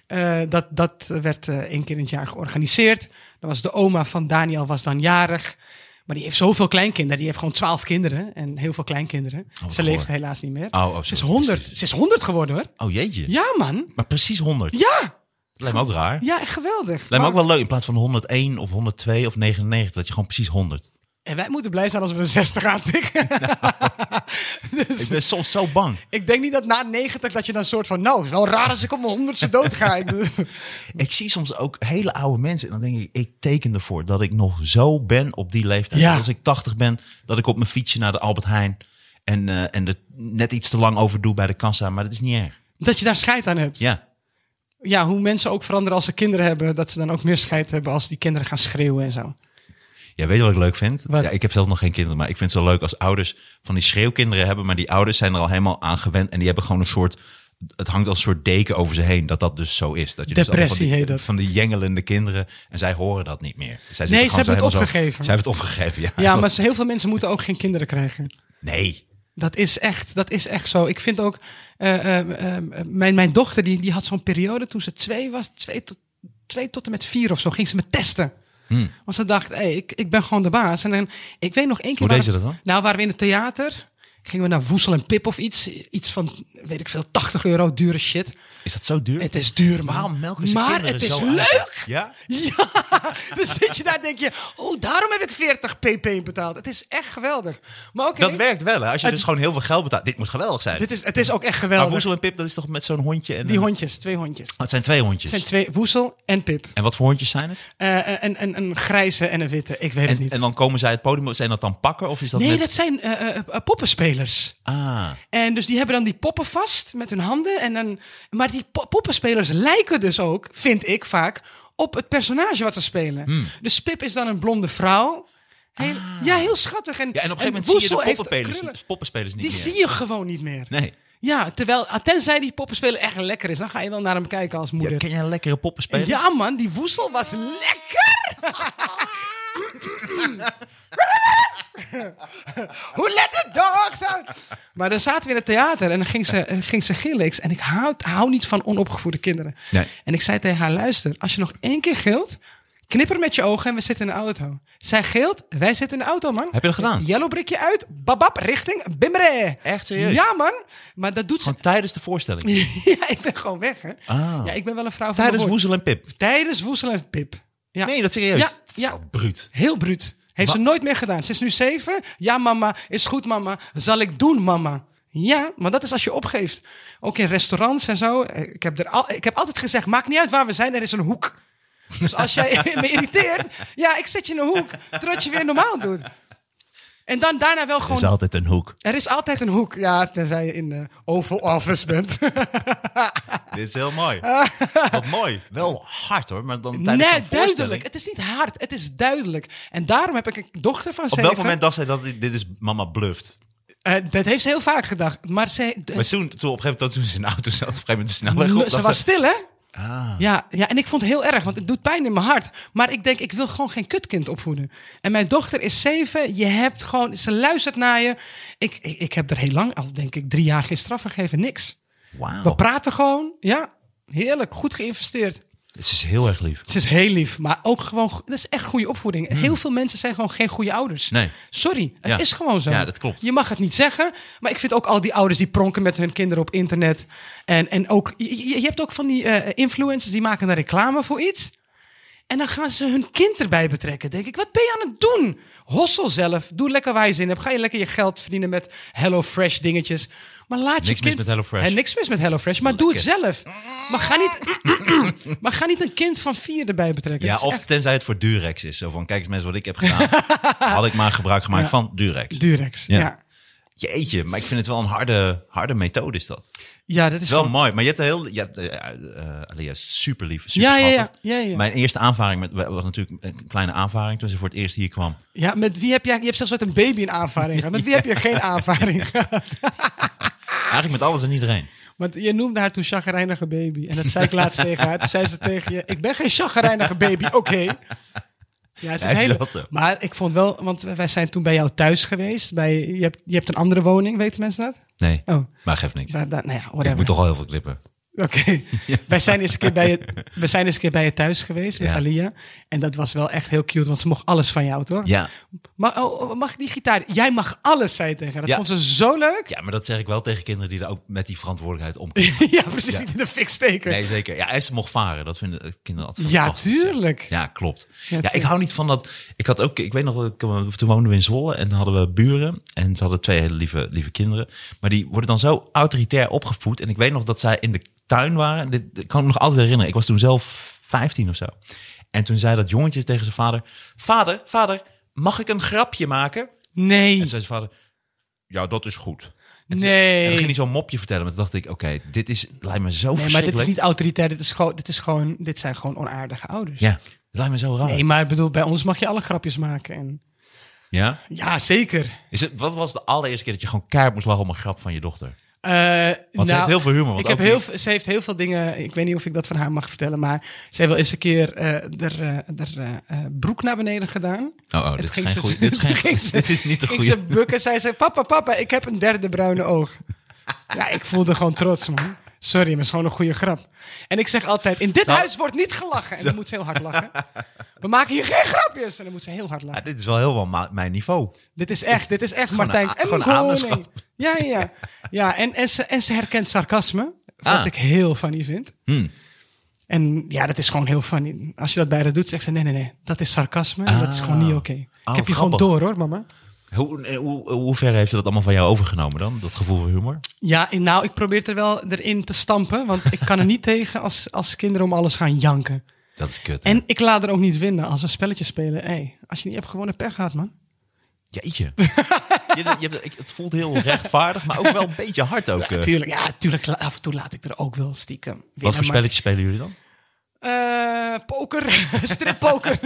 Eh dat, dat werd eh, één keer in het jaar georganiseerd. Dan was de oma van Daniel was dan jarig. Maar die heeft zoveel kleinkinderen. Die heeft gewoon twaalf kinderen en heel veel kleinkinderen.
wat
Ze leeft
Oh, goor.
helaas niet meer.
Oh, oh,
ze is
sorry,
honderd.
precies.
Ze is honderd geworden hoor.
Oh jeetje.
Ja man.
Maar precies 100.
Ja.
Lijkt me ook raar.
Ja, echt geweldig.
Lijkt
Maar-
me ook wel leuk in plaats van 101 of 102 of 99, dat je gewoon precies 100.
En wij moeten blij zijn als we een 60 aantikken. dus
Nou, Ik
ik,
ben soms zo bang.
denk niet dat na 90 dat je dan soort van... Nou, het is wel raar als ik op mijn honderdste dood ga. Ik doe-
Ik zie soms ook hele oude mensen en dan denk ik, ik teken ervoor dat ik nog zo ben op die leeftijd.
Ja.
Als ik 80 ben, dat ik op mijn fietsje naar de Albert Heijn en, eh, en er net iets te lang over doe bij de kassa, maar dat is niet erg.
dat je daar scheid aan hebt. Ja.
Ja,
hoe mensen ook veranderen als ze kinderen hebben. Dat ze dan ook meer scheid hebben als die kinderen gaan schreeuwen en zo.
Ja, weet je wat ik leuk vind?
Wat?
Ja, ik heb zelf nog geen kinderen, maar ik vind het zo leuk als ouders van die schreeuwkinderen hebben, maar die ouders zijn er al helemaal aan gewend en die hebben gewoon een soort, het hangt als een soort deken over ze heen, dat dat dus zo is. Dat je dus
Depressie
allemaal van die,
heet dat.
Van die jengelende kinderen en zij horen dat niet meer. Zij zitten
Nee, ze
gewoon zo
hebben het
helemaal zo-
opgegeven.
Zij hebben het opgegeven, ja.
Ja, maar heel veel mensen moeten ook geen kinderen krijgen.
Nee.
Dat is echt, dat is echt zo. Ik vind ook, eh, eh, eh, mijn, mijn dochter die, die had zo'n periode toen ze twee was, twee tot, twee tot en met vier of zo, ging ze me testen.
Hmm.
Want ze dacht, hey, ik, ik ben gewoon de baas. En dan, ik weet nog één keer...
Hoe deed
waren-
ze dat dan?
Nou, waren we in het theater. Gingen we naar Woesel en Pip of iets. Iets van, weet ik veel, 80 euro dure shit.
Is dat zo duur?
Het is duur, man.
Waarom melken ze
maar
kinderen
het is
zo uit?
leuk.
Ja?
Ja, dan zit je daar en denk je, oh, daarom heb ik 40 pp betaald. Het is echt geweldig. Maar oké,
Dat werkt wel, hè? Als je
Het-
dus gewoon heel veel geld betaalt. Dit moet geweldig zijn.
dit is, het is ook echt
maar
geweldig.
Woezel en Pip, dat is toch met zo'n hondje? En,
Die
een-
hondjes, twee hondjes.
Oh, het zijn twee hondjes.
Het zijn twee, Woesel en Pip.
En wat voor hondjes zijn het?
Eh, een, een, een grijze en een witte, ik weet het
En,
niet.
en dan komen zij het podium op. Zijn dat dan pakken? Of is dat
nee,
met...
dat zijn eh, eh, eh, poppenspelers.
Ah,
En dus die hebben dan die poppen vast met hun handen. En dan, maar die po- poppenspelers lijken dus ook, vind ik vaak, op het personage wat ze spelen.
Hmm.
Dus Pip is dan een blonde vrouw. Heel, Ja, heel schattig. En,
Ah. ja, en op een gegeven moment
Woesel
zie je de
heeft
poppenspelers,
krullen.
poppenspelers niet
Die
meer.
zie je gewoon niet meer.
Nee.
Ja, terwijl, ah, tenzij die poppenspeler echt lekker is, dan ga je wel naar hem kijken als
Ja,
moeder.
ken jij een lekkere poppenspeler?
Ja, man, die woesel was lekker! Hoe let the dogs out! Maar dan zaten we in het theater en dan ging ze, eh, ging ze gillen. Ik- En ik hou, hou niet van onopgevoede kinderen.
Nee.
En ik zei tegen haar, luister, als je nog één keer gilt, knipper met je ogen en we zitten in de auto. Zij gilt, wij zitten in de auto, man.
Heb je dat gedaan?
Yellow brickje uit, babab, richting Bimre.
Echt serieus?
Ja, man. Maar dat doet ze...
Gewoon tijdens de voorstelling.
ja, ik ben gewoon weg, hè.
Ah.
Ja, ik ben wel een vrouw van
Tijdens
mijn woord.
Woezel en Pip.
Tijdens Woesel en Pip. Ja.
Nee, dat serieus.
Ja,
Dat is
ja.
wel bruut.
Heel bruut. Heeft ze nooit meer gedaan. Ze is nu zeven. Ja, mama. Is goed, mama. Zal ik doen, mama. Ja, maar dat is als je opgeeft. Ook in restaurants en zo. Eh, Ik heb, er al, ik heb altijd gezegd, maakt niet uit waar we zijn, er is een hoek. Dus als jij me irriteert, ja, ik zet je in een hoek. Totdat je weer normaal doet. En dan daarna wel
Er is
gewoon...
altijd een hoek.
Er is altijd een hoek. Ja, tenzij je in de Oval Office bent.
Dit is heel mooi. Wat mooi. Wel hard hoor, maar dan tijdens
nee,
zo'n voorstelling-
duidelijk. Het is niet hard. Het is duidelijk. En daarom heb ik een dochter van
Op
zeven.
welk moment dacht zij dat dit dit is mama bluft?
Eh, dat heeft ze heel vaak gedacht. Maar ze,
Maar toen, toen op een gegeven moment, toen ze in de auto zat, op een gegeven moment de snelweg op.
ze,
dacht
was stil, hè?
Ah,
Ja, ja, en ik vond het heel erg, want het doet pijn in mijn hart. Maar ik denk, ik wil gewoon geen kutkind opvoeden. En mijn dochter is zeven. Je hebt gewoon, ze luistert naar je. Ik, ik, ik heb er heel lang, al denk ik drie jaar, geen straf gegeven. Niks. We
wauw.
praten gewoon. Ja, heerlijk. Goed geïnvesteerd.
Dit is heel erg lief.
Ze is heel lief, maar ook gewoon, go- dat is echt goede opvoeding. Heel veel mensen zijn gewoon geen goede ouders.
Hmm. Nee.
Sorry, het
Ja.
is gewoon zo.
Ja, dat klopt.
Je mag het niet zeggen, maar ik vind ook al die ouders die pronken met hun kinderen op internet. En, en ook, je, je- je hebt ook van die eh, influencers die maken een reclame voor iets. En dan gaan ze hun kind erbij betrekken. Denk ik, wat ben je aan het doen? Hossel zelf, doe lekker waar je zin in hebt. Ga je lekker je geld verdienen met HelloFresh dingetjes. Maar laat je
Niks
kind...
mis met HelloFresh.
En niks mis met HelloFresh, maar doe het zelf. Maar ga niet, maar ga niet een kind van vier erbij betrekken.
Ja,
Dat is
of
echt
tenzij het voor Durex is. Zo van, kijk eens mensen wat ik heb gedaan. Had ik maar gebruik gemaakt
Ja.
van Durex.
Durex. Ja.
Ja.
Ja.
Jeetje, maar ik vind het wel een harde, harde methode is dat.
dat is
Het is wel
gewoon-
mooi, maar je hebt een heel... Je hebt, eh, eh, Alia is super lief, super
Ja, ja, ja.
schattig.
Ja, ja.
Mijn eerste aanvaring met, was natuurlijk een kleine aanvaring toen ze voor het eerst hier kwam.
Ja, met wie heb jij... Je hebt zelfs met een baby een aanvaring gehad. Met wie heb je geen aanvaring gehad?
Eigenlijk met alles en iedereen.
Want je noemde haar toen chagrijnige baby. En dat zei ik laatst tegen haar. Toen zei ze tegen je, ik ben geen chagrijnige baby, oké. Ja, ze
het
is
is
heel-
wel zo.
Maar ik vond wel, want wij zijn toen bij jou thuis geweest. Bij, je, hebt, je hebt een andere woning, weten mensen dat?
Nee,
Oh.
maar geeft niks.
Daar, daar- nou ja,
Ik
whatever.
moet toch al heel veel klippen.
Oké. Wij zijn eens een keer bij je, wij zijn eens een keer bij je thuis geweest met
Ja.
Alia. En dat was wel echt heel cute, want ze mocht alles van jou, toch?
Ja.
Maar oh, oh, mag ik die gitaar? Jij mag alles, zei je tegen haar. Dat
Ja.
vond ze zo leuk.
ja, maar dat zeg ik wel tegen kinderen die er ook met die verantwoordelijkheid omgaan.
ja, precies.
Ja.
Niet in de fik steken.
Nee, zeker. Ja, en ze mocht varen. Dat vinden eh, kinderen altijd
Ja,
fantastisch, hè.
tuurlijk.
Ja, klopt. Ja,
tuurlijk.
ik hou niet van dat... Ik had ook... Ik weet nog, ik, eh, toen woonden we in Zwolle en toen hadden we buren. En ze hadden twee hele lieve, lieve kinderen. Maar die worden dan zo autoritair opgevoed. En ik weet nog dat zij in de tuin waren. Dit, dit kan ik me nog altijd herinneren. Ik was toen zelf 15 of zo. En toen zei dat jongetje tegen zijn vader... Vader, vader, mag ik een grapje maken?
Nee.
En zei zijn vader, ja, dat is goed. En toen-
Nee.
En dan ging hij zo'n mopje vertellen. Maar toen dacht ik, oké, dit is, lijkt me zo
Nee, maar
verschrikkelijk.
dit is niet autoritair. Dit, is gewoon, dit, is gewoon, dit zijn gewoon onaardige ouders.
Ja, dat lijkt me zo raar.
Nee, maar ik bedoel, bij ons mag je alle grapjes maken. En...
Ja?
Ja, zeker.
Is het, wat was de allereerste keer dat je gewoon keihard moest lachen om een grap van je dochter?
Eh, nou,
heeft heel veel humor, want
Ik heb
ook
heel,
die-
veel- ze heeft heel veel dingen. Ik weet niet of ik dat van haar mag vertellen. Maar ze heeft wel eens een keer eh er, eh, broek naar beneden gedaan.
Oh, oh,
En
dit is
toen
geen
ging ze-
goeie- dit is geen-
ging ze-
dit is niet de
ging
goeie.
ze bukken. Zei ze: Papa, papa, ik heb een derde bruine oog. ja, ik voelde gewoon trots, man. Sorry, maar het is gewoon een goede grap. En ik zeg altijd, in dit
Nou.
huis wordt niet gelachen. En dan moet ze heel hard lachen. We maken hier geen grapjes. En dan moet ze heel hard
Ja,
lachen.
dit is wel heel wel ma- mijn niveau.
Dit is echt, dit is echt
Gewoon
Martijn
een a-
en
gewoon een
Koning.
aderschap.
Ja, ja, ja. ja en, en, ze, en ze herkent sarcasme. Wat
Ah.
ik heel funny vind.
Hmm.
En ja, dat is gewoon heel funny. Als je dat bij haar doet, zegt ze: nee, nee, nee, dat is sarcasme. en Dat is gewoon niet oké. ik heb je gewoon
Ah. Oh, grappig.
door hoor, mama.
Hoe, eh, hoe, hoe ver heeft ze dat allemaal van jou overgenomen dan? Dat gevoel voor humor?
Ja, en nou, ik probeer het er wel erin te stampen. Want ik kan er niet tegen als, als kinderen om alles gaan janken.
Dat is kut. hè?
En ik laat er ook niet winnen als we spelletjes spelen. Hey, als je niet hebt gewonnen, pech gehad, man.
Jeetje. je, je hebt, ik- het voelt heel rechtvaardig, maar ook wel een beetje hard ook. eh.
Tuurlijk, ja, tuurlijk. la- Af en toe laat ik er ook wel stiekem winnen.
Wat voor
maar-
spelletjes spelen jullie dan?
Eh, poker, strippoker.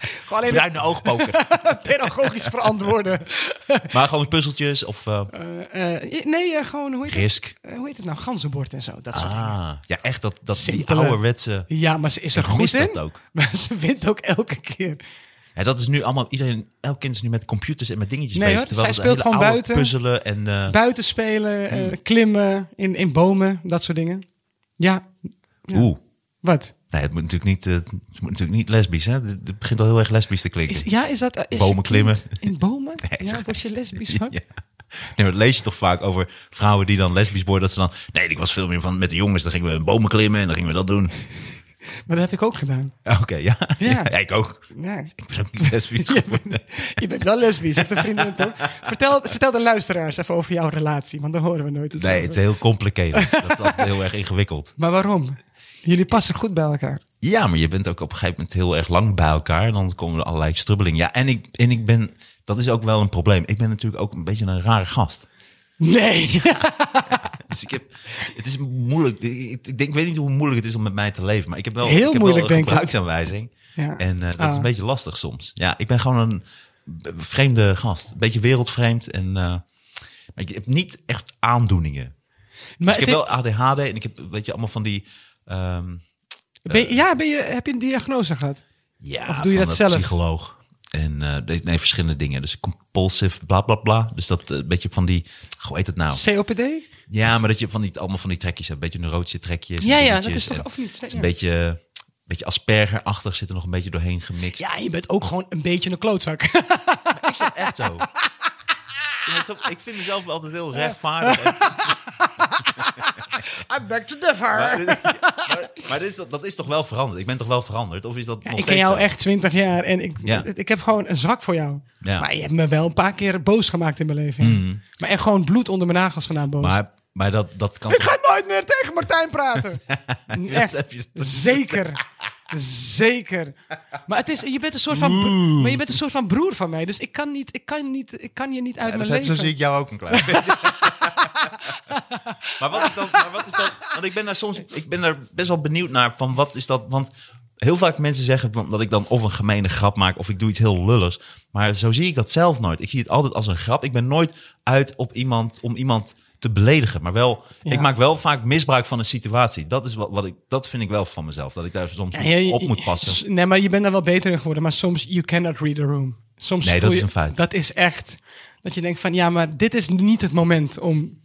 Gewoon alleen
Bruine oogpoker.
maar pedagogisch verantwoorden.
maar gewoon puzzeltjes of eh,
Eh, eh, nee, eh, gewoon, hoe heet, het?
risk.
Eh, hoe heet het nou? Ganzenbord en zo. Dat soort dingen.
Ah, ja, echt dat, dat die
Simpele.
ouderwetse...
Ja, maar ze is er
Ik
goed
mis
in.
dat ook.
Maar ze wint ook elke keer.
Ja, dat is nu allemaal... Iedereen, elk kind is nu met computers en met dingetjes
Nee,
bezig.
hoor,
terwijl
zij
het
speelt
hele
gewoon
oude
buiten.
puzzelen en... eh,
Buiten spelen, eh,
Hmm.
klimmen, in, in bomen, dat soort dingen. Ja,
Oeh.
wat?
Nee, het moet natuurlijk niet, eh, het moet natuurlijk niet lesbisch, hè? Het- Het begint al heel erg lesbisch te klinken.
Is, ja, is dat... eh, is
Bomen
je kind
klimmen.
In bomen?
Nee,
ja,
zo-
word je lesbisch van?
Ja. Nee, maar dat lees je toch vaak over vrouwen die dan lesbisch worden. Dat ze dan, nee, ik was veel meer van met de jongens. Dan gingen we in bomen klimmen en dan gingen we dat doen.
Maar dat heb ik ook gedaan.
Ja, Oké, ja.
Ja.
Ja. ik ook.
Ja.
Ik ben ook niet lesbisch
Je
geworden.
bent, je bent wel lesbisch, heeft een vriendin toch? Vertel, vertel de luisteraars even over jouw relatie, want dan horen we nooit iets
Nee,
over.
het is heel complicated. Dat is altijd heel erg ingewikkeld.
Maar waarom? Jullie passen goed bij elkaar.
Ja, maar je bent ook op een gegeven moment heel erg lang bij elkaar. Dan komen er allerlei strubbelingen. Ja, en ik, en ik ben... Dat is ook wel een probleem. Ik ben natuurlijk ook een beetje een rare gast.
Nee.
Dus ik heb, het is moeilijk. Ik, ik, denk, ik weet niet hoe moeilijk het is om met mij te leven. Maar ik heb wel,
Heel
ik heb
moeilijk,
wel een
denk ik.
gebruiksaanwijzing.
Ja.
En eh, dat
Ah.
is een beetje lastig soms. Ja, ik ben gewoon een b- vreemde gast. Een beetje wereldvreemd. En, eh, maar ik heb niet echt aandoeningen.
Maar
dus ik
het
heb wel ADHD en ik heb weet je, allemaal van die... ehm,
is- ben je- ja, ben je, heb je een diagnose gehad?
ja,
Of doe je
van
dat
een
zelf?
psycholoog. En eh, nee, nee, verschillende dingen. Dus compulsive bla bla bla. Dus dat eh, beetje van die... Hoe heet het nou?
COPD?
Ja, maar dat je van die, allemaal van die trekjes hebt. Een beetje neurotische trekjes. en
Ja, ja, dat
dingetjes
is toch...
en-
Of niet?
Het is een beetje, een beetje aspergerachtig, zit er nog een beetje doorheen gemixt.
Ja, je bent ook gewoon een beetje een klootzak.
is dat echt zo? Ja, maar zo- ik vind mezelf wel altijd heel rechtvaardig. En-
I'm back to differ.
Maar, eh, maar, maar dit is, dat- dat is toch wel veranderd? Ik ben toch wel veranderd? Of is dat nog
ik ken
steeds
jou
zo?
echt 20 jaar en ik,
Ja.
ik heb gewoon een zwak voor jou.
Ja. Hmm.
Maar je hebt me wel een paar keer boos gemaakt in mijn leven. Maar echt gewoon bloed onder mijn nagels vandaan boos.
Maar, maar dat, dat kan...
Ik ga nooit meer tegen Martijn praten.
heb je-
Echt. Zeker. Zeker. Maar het is, je bent een soort van, bro- maar je bent een soort van broer van mij. Dus ik kan, niet, ik kan, niet, ik kan je niet uit
Ja,
mijn
dat heb-
leven.
zo zie ik jou ook een klein beetje. maar, wat is dan, maar wat is dan... Want ik ben daar soms... Ik ben daar best wel benieuwd naar van wat is dat... Want heel vaak mensen zeggen van- dat ik dan of een gemene grap maak... of ik doe iets heel lulligs. Maar zo zie ik dat zelf nooit. Ik zie het altijd als een grap. Ik ben nooit uit op iemand om iemand te beledigen. Maar wel...
Ja.
Ik maak wel vaak misbruik van een situatie. Dat, is wat, wat ik, dat vind ik wel van mezelf. Dat ik daar soms
Ja, je-
op moet passen.
S- Nee, maar je bent daar wel beter in geworden. Maar soms, you cannot read a room. Soms
Nee, dat
voel
is
je-
een feit.
Dat is echt, dat je denkt van, ja, maar dit is niet het moment om,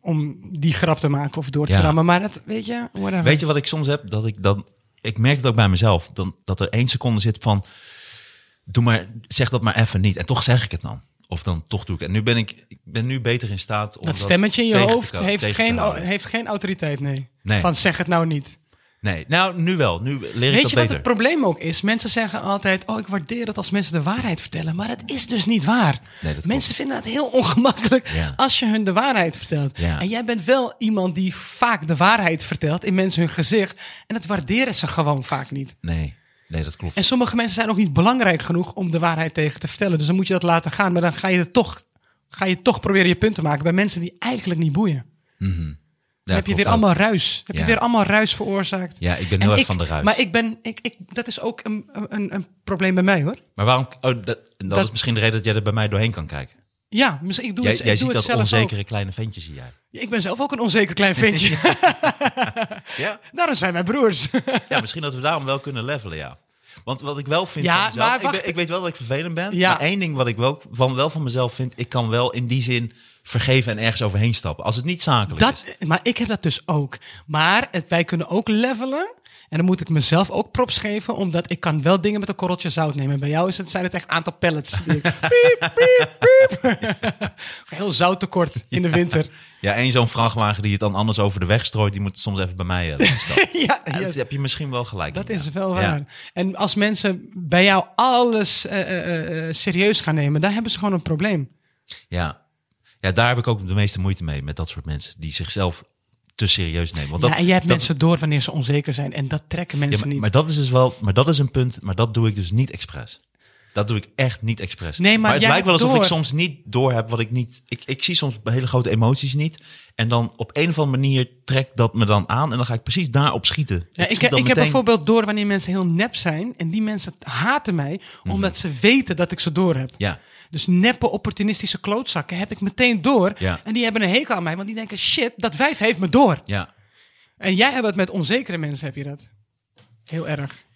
om die grap te maken of door te
Ja.
rammen. Maar dat, weet je, whatever.
Weet je wat ik soms heb? Dat ik dan. Ik merk het ook bij mezelf. Dan, dat er één seconde zit van. Doe maar, zeg dat maar even niet. En toch zeg ik het dan. Of dan toch doe ik het. En nu ben ik, ik ben nu beter in staat om.
dat stemmetje in je
tegen te
hoofd
ko-
heeft
tegen te
geen,
houden.
heeft geen autoriteit, nee.
Nee.
Van zeg het nou niet.
Nee, nou nu wel. Nu leer ik
Weet
dat
je wat
beter.
het probleem ook is? Mensen zeggen altijd: Oh, ik waardeer het als mensen de waarheid vertellen. Maar het is dus niet waar.
Nee, dat
mensen vinden het heel ongemakkelijk
Ja.
als je hun de waarheid vertelt.
Ja.
En jij bent wel iemand die vaak de waarheid vertelt in mensen hun gezicht. En dat waarderen ze gewoon vaak niet.
nee, nee, dat klopt.
En sommige mensen zijn ook niet belangrijk genoeg om de waarheid tegen te vertellen. Dus dan moet je dat laten gaan. Maar dan ga je, het toch, ga je toch proberen je punt te maken bij mensen die eigenlijk niet boeien.
Ja,
Dan heb je
klopt
weer
ook.
allemaal ruis. Heb je
Ja.
weer allemaal ruis veroorzaakt.
Ja, ik ben
En
heel erg van de ruis.
Maar ik ben, ik, ik, dat is ook een, een, een probleem bij mij hoor.
Maar waarom? Oh, dat, dat,
Dat-
is misschien de reden dat jij er bij mij doorheen kan kijken.
Ja, misschien- ik doe
Jij,
het, ik
jij
doe
ziet
het
dat
zelf
onzekere kleine ventje, zie jij.
ook. Ik ben zelf ook een onzeker klein ventje.
Ja?
Daarom zijn wij broers.
Ja, misschien dat we daarom wel kunnen levelen, ja. Want wat ik wel vind
Ja,
van mezelf...
maar
ik,
wacht.
ben- ik weet wel dat ik vervelend ben.
Ja.
Maar één ding wat ik wel van, wel van mezelf vind... Ik kan wel in die zin vergeven en ergens overheen stappen. Als het niet zakelijk is.
Dat, maar ik heb dat dus ook. Maar het, wij kunnen ook levelen. En dan moet ik mezelf ook props geven, omdat ik kan wel dingen met een korreltje zout nemen. En bij jou is het, zijn het echt een aantal pellets. die ik- piep, piep, piep. Heel zouttekort in de winter.
Ja, en zo'n vrachtwagen die het dan anders over de weg strooit, die moet het soms even bij mij eh, laten stappen.
ja,
Ja,
ja,
dat heb je misschien wel gelijk.
dat
in,
is
ja.
wel
Ja.
waar. En als mensen bij jou alles eh, eh, eh, serieus gaan nemen, dan hebben ze gewoon een probleem.
Ja. ja, daar heb ik ook de meeste moeite mee met dat soort mensen die zichzelf te serieus nemen. Want dat,
ja, en jij hebt
dat-
mensen door wanneer ze onzeker zijn. En dat trekken
Ja,
mensen
maar,
niet.
maar dat is dus wel, maar dat is een punt, maar dat doe ik dus niet expres. Dat doe ik echt niet expres.
Nee, maar
het
jij
lijkt wel
hebt
alsof ik
door.
soms niet door heb wat ik niet. Ik, ik zie soms hele grote emoties niet. En dan op een of andere manier trekt dat me dan aan. En dan ga ik precies daarop schieten.
Ja, ik
schiet
ik
dan
heb
meteen-
bijvoorbeeld door wanneer mensen heel nep zijn. En die mensen haten mij omdat ze weten dat ik ze door heb.
Mhm. Ja.
Dus neppe opportunistische klootzakken heb ik meteen door.
Ja.
En die hebben een hekel aan mij, want die denken: shit, dat wijf heeft me door.
Ja.
En jij hebt het met onzekere mensen, heb je dat? Heel erg.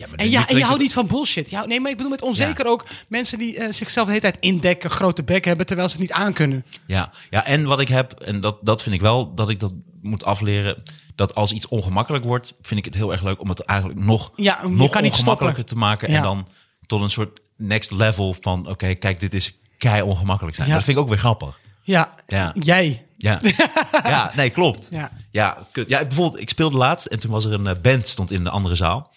Ja, maar
En,
dit-
ja,
dit
en je
klinkt-
houdt niet van bullshit. Je houdt- nee, maar ik bedoel met onzeker ook mensen die eh, zichzelf de hele tijd indekken, grote bek hebben, terwijl ze het niet aankunnen.
Ja, ja en wat ik heb, en dat, dat vind ik wel dat ik dat moet afleren. Dat als iets ongemakkelijk wordt, vind ik het heel erg leuk om het eigenlijk nog,
Ja, je
nog
kan niet
ongemakkelijker
stoppen.
te maken.
Ja.
En dan tot een soort next level van: oké, kijk, dit is kei ongemakkelijk zijn.
Ja.
Dat vind ik ook weer grappig.
Ja,
Ja.
jij.
Ja, ja nee, klopt.
Ja.
Ja. Ja, kut. ja, bijvoorbeeld, ik speelde laatst en toen was er een eh, band, stond in de andere zaal.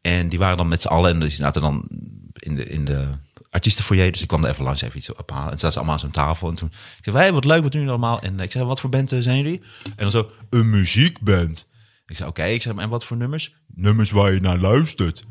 En die waren dan met z'n allen en die zaten dan in de, in de artiestenfoyer. Dus ik kwam er even langs even iets ophalen. En toen zaten ze allemaal aan zo'n tafel. En toen ik zei, hey, wat leuk, wat doen jullie allemaal? En eh, ik zei, wat voor band eh, zijn jullie? En dan zo, een muziekband. Ik zei, oké. Ik zei, en wat voor nummers? Nummers waar je naar luistert.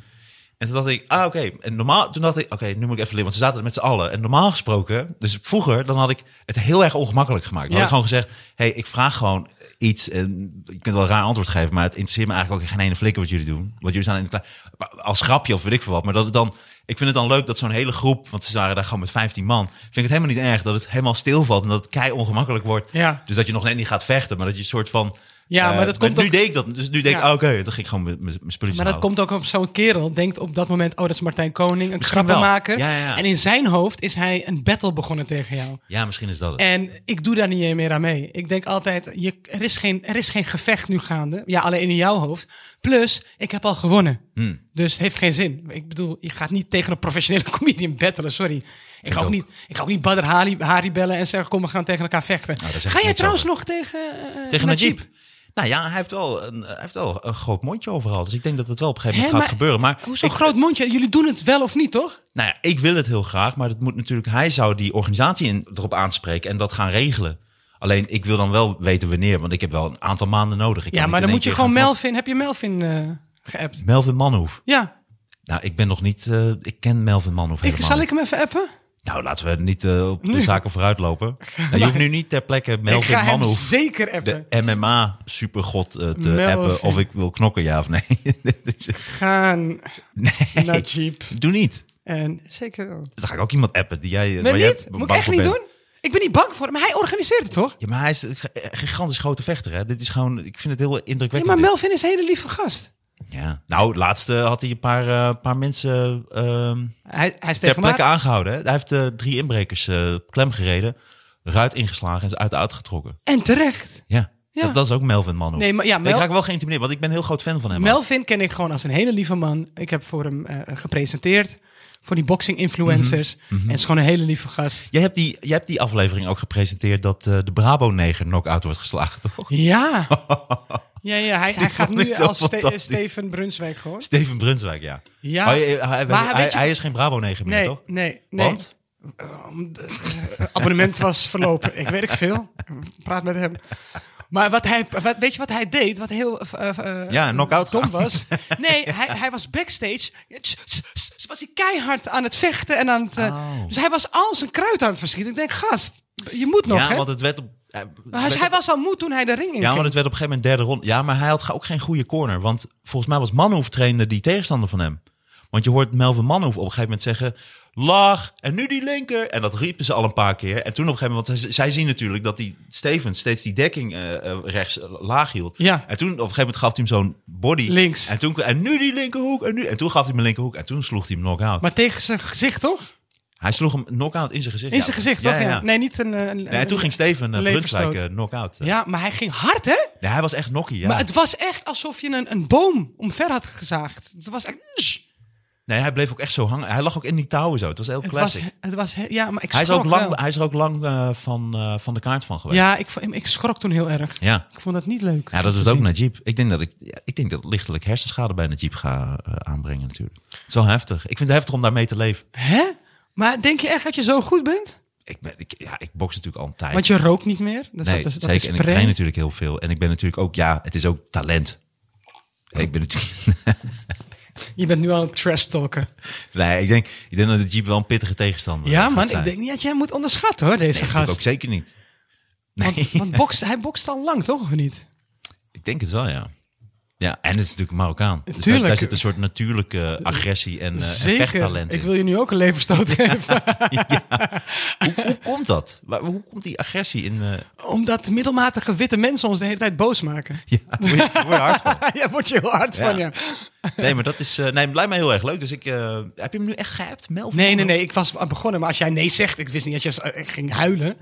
En toen dacht ik, ah oké. En normaal, toen dacht ik, oké, nu moet ik even leren. Want ze zaten met z'n allen. En normaal gesproken, dus vroeger, dan had ik het heel erg ongemakkelijk gemaakt. Dan
Ja.
had ik gewoon gezegd, hey, ik vraag gewoon iets. En je kunt wel een raar antwoord geven, maar het interesseert me eigenlijk ook geen ene flikker wat jullie doen. Want jullie staan in de kle- maar als grapje of weet ik veel wat. Maar dat het dan, ik vind het dan leuk dat zo'n hele groep, want ze waren daar gewoon met 15 man. Vind ik het helemaal niet erg dat het helemaal stilvalt en dat het kei ongemakkelijk wordt.
Ja.
Dus dat je nog net niet gaat vechten, maar dat je een soort van...
Ja,
eh,
maar dat komt
nu
ook-
deed ik dat. Dus nu denk ik,
Ja.
ah, oké, dan ging ik gewoon mijn- mijn mijn spulletjes
Maar dat
halen.
komt ook op zo'n kerel. Denkt op dat moment, oh, dat is Martijn Koning, een
Misschien
grappenmaker.
wel. Ja, ja, ja.
En in zijn hoofd is hij een battle begonnen tegen jou.
Ja, misschien is dat het.
En ik doe daar niet meer aan mee. Ik denk altijd, je, er, is geen, er is geen gevecht nu gaande. Ja, alleen in jouw hoofd. Plus, ik heb al gewonnen.
Hmm.
Dus het heeft geen zin. Ik bedoel, je gaat niet tegen een professionele comedian battelen, sorry. Ik ga ook,
ook.
niet, ik ga ook niet Badr Hari, Hari bellen en zeggen, kom, we gaan tegen elkaar vechten.
daar Nou, zeg ik
ga jij
niks
trouwens nog tegen, eh,
Tegen
Najib?
Najib. Nou ja, hij heeft, wel een, hij heeft wel een groot mondje overal. Dus ik denk dat het wel op een gegeven
Hè,
moment gaat gebeuren. Maar
Hoe zo'n
ik-
groot mondje? Jullie doen het wel of niet, toch?
Nou ja, ik wil het heel graag, maar dat moet natuurlijk, hij zou die organisatie in, erop aanspreken en dat gaan regelen. Alleen ik wil dan wel weten wanneer, want ik heb wel een aantal maanden nodig. Ik
Ja,
kan
maar dan
niet in
moet je
één keer
gewoon
gaan
Melvin. Heb je Melvin eh geappt?
knallen. Melvin Manhoef.
Ja.
Nou, ik ben nog niet. eh, ik ken Melvin Manhoef.
Ik,
helemaal
zal ik
niet.
hem even appen?
Nou, laten we niet eh, op de zaken vooruit lopen. Nou, je hoeft nu niet ter plekke
ik ga
Melvin
hem
Manhoef,
zeker appen.
de MMA supergod, eh, te
Melvin.
appen of ik wil knokken, ja of nee. Dus,
Gaan
nee.
naar Jeep.
Doe niet.
En zeker wel.
Dan ga ik ook iemand appen die jij. eh,
Nee,
waar jij
niet?
b-
Moet ik
bang
echt
voor
niet
bent.
doen? Ik ben niet bang voor hem. Maar hij organiseert het, toch?
Ja, maar hij is een g- een gigantisch grote vechter. Hè? Dit is gewoon, ik vind het heel
Ja,
indrukwekkend.
maar
dit.
Melvin is een hele lieve gast.
Ja. Nou, laatste had hij een paar, eh, paar mensen ehm,
Hij, hij is
ter
tegen
plekke
mij.
aangehouden. Hè? Hij heeft eh, drie inbrekers eh klem gereden, ruit ingeslagen en ze uit de auto getrokken.
En terecht.
Ja,
Ja.
Dat, dat is ook Melvin Manhoef.
Nee, maar ja,
Ik
Mel-
raak wel geïntimideerd, want ik ben een heel groot fan van hem. ook.
Melvin ken ik gewoon als een hele lieve man. Ik heb voor hem eh, gepresenteerd. Voor die boxing influencers.
Mhm,
En het is gewoon een hele lieve gast.
Jij hebt, die, jij hebt die aflevering ook gepresenteerd dat eh, de Brabo-neger knock-out wordt geslagen, toch?
Ja. Ja, ja hij, hij gaat
vond ik
nu
zo
als Ste-
fantastisch.
Steven Brunswijk gewoon.
Steven Brunswijk, ja.
Ja.
Oh, hij, hij,
Maar
hij-
weet je-
hij is geen Brabo-neger meer,
Nee,
toch?
nee, nee.
Want?
Het abonnement was verlopen. Ik weet ik veel. Praat met hem. Maar wat hij, wat, weet je wat hij deed? Wat heel eh, eh,
Ja, knock-out
dom
gaan.
was. Nee, hij, hij was backstage. Tss, tss, tss, was hij keihard aan het vechten en aan het. eh,
Oh.
Dus hij was al zijn kruid aan het verschieten. Ik denk, gast, je moet nog,
ja,
hè?
want het werd op... eh,
hij,
werd
hij
op-
was al moe toen hij de ring in
Ja,
ging.
want het werd op een gegeven moment derde ronde. Ja, maar hij had ook geen goede corner. Want volgens mij was Manhoef trainde die tegenstander van hem. Want je hoort Melvin Manhoef op een gegeven moment zeggen... Laag, en nu die linker. En dat riepen ze al een paar keer. En toen op een gegeven moment... Want zij- zij zien natuurlijk dat die Stevens steeds die dekking eh, eh, rechts eh, laag hield.
Ja.
En toen op een gegeven moment gaf hij hem zo'n body.
Links.
En, toen, en nu die linkerhoek. En, nu, en toen gaf hij hem een linkerhoek. En toen sloeg hij hem knock-out.
Maar tegen zijn gezicht, toch?
Hij sloeg hem knock-out in zijn gezicht.
In
ja.
zijn gezicht,
ja,
toch?
Ja,
Ja,
ja. Nee,
Nee, niet een... eh, een-
en toen ging Steven uh,
Leverstoot.
Brunswijk eh, knock-out. eh.
Ja, maar hij ging hard, hè?
Ja, hij was echt knokkie. Ja.
Maar het was echt alsof je een, een boom omver had gezaagd. Het was echt...
Nee, hij bleef ook echt zo hangen. Hij lag ook in die touwen zo. Het was heel
Het was,
classic.
het was... Ja, maar ik
hij, is
schrok
ook lang,
wel.
hij is er ook lang eh, van, eh, van de kaart van geweest.
Ja, ik, vo- ik schrok toen heel erg.
ja.
Ik vond dat niet leuk.
Ja, dat
om
doet
te
ook
zien.
Najib. Ik denk dat ik, ja, ik denk dat ik lichtelijk hersenschade bij Najib ga eh, aanbrengen natuurlijk. Het is wel heftig. Ik vind het heftig om daarmee te leven.
Hè? Maar denk je echt dat je zo goed bent?
Ik, ben, ik, ja, ik boks natuurlijk al een tijd.
Want je rookt niet meer. Dat is,
nee,
dat is, dat
zeker.
is
en ik
prey.
train natuurlijk heel veel. En ik ben natuurlijk ook, ja, het is ook talent.
Oh.
Ik ben natuurlijk...
Je bent nu aan het trash talken.
Nee, ik denk, ik denk dat Najib wel een pittige tegenstander
Ja,
gaat
man.
zijn.
Ik denk niet dat jij hem moet onderschatten, hoor, deze
Nee, natuurlijk
gast.
ook zeker niet. Nee,
Want, want bokst, hij bokst al lang, toch? Of niet?
ik denk het wel, ja. Ja, en het is natuurlijk Marokkaan. Dus daar-
Tuurlijk.
Daar, zit een soort natuurlijke agressie en, eh, en
Zeker.
vechttalent in.
Ik wil je nu ook een leverstoot geven.
Hoe komt dat? Waar- hoe komt die agressie in? eh,
Omdat middelmatige witte mensen ons de hele tijd boos maken.
Ja, word je- word je hard van.
ja, word je heel hard
Ja.
van, ja.
Nee, maar dat is. eh, nee, het lijkt mij heel erg leuk. Dus ik. eh, heb je hem nu echt gehapt, Mel?
Nee, nee, nee. Ik was aan begonnen. Maar als jij nee zegt, ik wist niet dat je eh, ging huilen.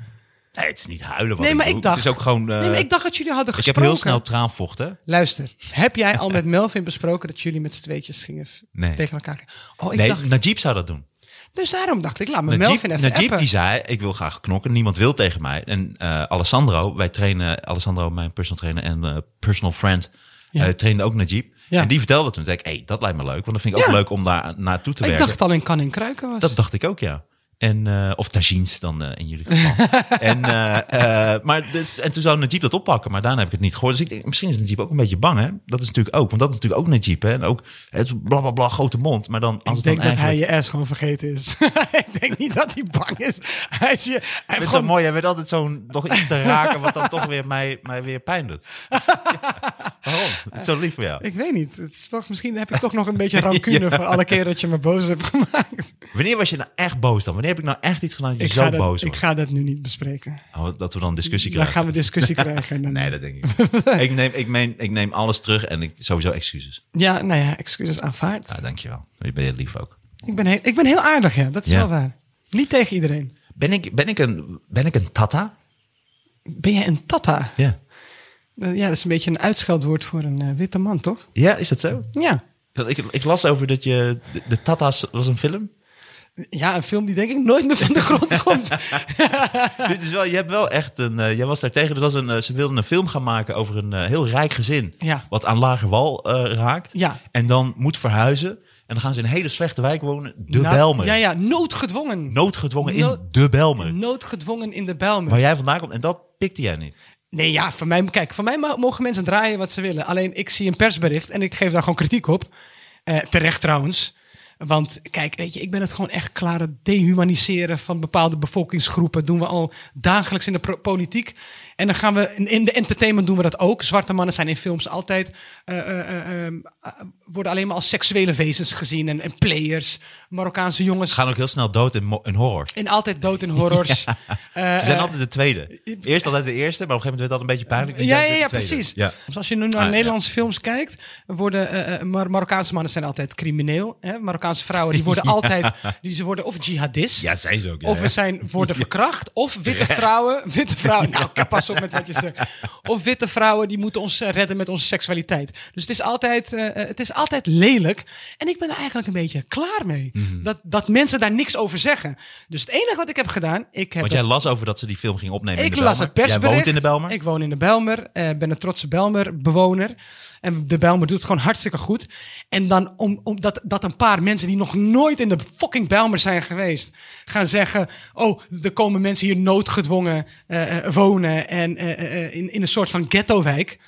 Nee, het is niet huilen. Wat
Nee, maar
doe.
ik dacht...
Het is ook gewoon. eh,
nee, maar
ik,
ik dacht dat jullie hadden
heb
gesproken.
heel snel traanvocht, hè?
Luister, heb jij al met Melvin besproken dat jullie met z'n tweetjes gingen f-
Nee.
tegen elkaar gingen? Oh, ik
Nee,
dacht...
Najib zou dat doen.
Dus daarom dacht ik, laat me
Najib,
Melvin even
Najib
appen.
die zei: Ik wil graag knokken. Niemand wil tegen mij. En eh, Alessandro, wij trainen. Alessandro, mijn personal trainer en eh, personal friend.
Ja.
eh, trainde ook Najib.
Ja.
En die vertelde toen. Toen zei ik: hey, dat lijkt me leuk. Want dat vind ik ook
Ja.
leuk om daar naartoe te
ik
werken.
dacht al in kan en kruiken was.
Dat dacht ik ook, ja. En, eh, of tagines dan eh, in jullie geval. en, eh, eh, maar dus, en toen zou Najib dat oppakken, maar daarna heb ik het niet gehoord. Dus ik denk, misschien is Najib ook een beetje bang, hè? Dat is natuurlijk ook, want dat is natuurlijk ook Najib, hè? En ook het is bla bla bla, grote mond. Maar dan, als
ik
het
denk
dan
dat hij
eigenlijk...
je ass gewoon vergeten is. ik denk niet dat hij bang is. Hij is je, hij
Ik
heeft
vind het
gewoon-
zo mooi, jij weet altijd zo'n nog iets te raken wat dan toch weer mij, mij weer pijn doet. Ja. Waarom? Het is zo lief voor jou.
Ik weet niet. Het is toch, misschien heb ik toch nog een beetje rancune voor alle keren dat je me boos hebt gemaakt.
Wanneer was je nou echt boos dan? Wanneer heb ik nou echt iets gedaan dat je
Ik
zo
ga, dat,
boos
ik
wordt?
ga dat nu niet bespreken.
Oh, dat we dan discussie
Dan
krijgen.
gaan we discussie krijgen. en dan-
Nee, dat denk ik niet. ik, neem, ik, meen, ik neem alles terug en ik, sowieso excuses.
Ja, nou ja, excuses aanvaard.
Ja, dankjewel. Je bent heel lief ook.
Ik ben heel, ik ben heel aardig, ja. Dat is
Ja.
wel waar. Niet tegen iedereen.
Ben ik, ben ik, een, ben ik een tata?
Ben jij een tata?
Ja.
Eh, Ja, dat is een beetje een uitscheldwoord voor een eh, witte man, toch?
Ja, is dat zo?
Ja.
Dat Ik, ik las over dat je... De, de Tata's was een film.
Ja, een film die denk ik nooit meer van de grond komt.
Dit is wel... Je hebt wel echt een... eh, jij was daar tegen. Dat was een, eh, ze wilden een film gaan maken over een eh, heel rijk gezin.
Ja.
Wat aan lager wal eh, raakt.
Ja.
En dan moet verhuizen. En dan gaan ze in een hele slechte wijk wonen. De
Nou,
Belmer.
Ja, ja, noodgedwongen.
Noodgedwongen in
Nood-
De Belmer.
Noodgedwongen in de Bijlmer.
Waar jij vandaan komt. En dat pikte jij niet.
Nee, ja, van mij, kijk, van mij ma- mogen mensen draaien wat ze willen. Alleen ik zie een persbericht en ik geef daar gewoon kritiek op. Eh, terecht trouwens. Want kijk, weet je, ik ben het gewoon echt klaar. Het dehumaniseren van bepaalde bevolkingsgroepen doen we al dagelijks in de pro- politiek. En dan gaan we in, in de entertainment doen we dat ook. Zwarte mannen zijn in films altijd eh, eh, eh, eh, worden alleen maar als seksuele wezens gezien en, en players. Marokkaanse jongens.
Gaan ook heel snel dood in, mo- in horror.
En altijd dood in horrors. Eh,
Ze zijn
eh,
altijd de tweede. Eerst altijd de eerste, maar op een gegeven moment werd dat een beetje pijnlijk. En
Ja,
dan
ja,
de
ja,
tweede.
precies.
Ja.
Dus als je nu naar
Ah, ja.
Nederlandse films kijkt, worden eh, eh, Mar- Marokkaanse mannen zijn altijd crimineel. Hè? Marokkaanse vrouwen die worden altijd, die, ze worden of jihadist.
Ja, zijn ze ook. Ja,
Of we
ja.
zijn, worden verkracht. Of witte vrouwen. Witte vrouwen. Nou, ik pas op met wat je zegt. Of witte vrouwen die moeten ons eh, redden met onze seksualiteit. Dus het is altijd, eh, eh, het is altijd lelijk. En ik ben er eigenlijk een beetje klaar mee.
Mhm.
dat, dat mensen daar niks over zeggen. Dus het enige wat ik heb gedaan. Ik heb
Want
het-
jij las over dat ze die film ging opnemen in
ik
de
las
Bijlmer.
het persbericht.
Jij woont in de Belmer?
Ik woon in de Belmer. eh, ben een trotse Belmer-bewoner. En de Belmer doet het gewoon hartstikke goed. En dan om, om dat, dat een paar mensen die nog nooit in de fucking Belmer zijn geweest... gaan zeggen... oh, er komen mensen hier noodgedwongen eh, eh, wonen... en eh, eh, eh, in, in een soort van ghetto-wijk...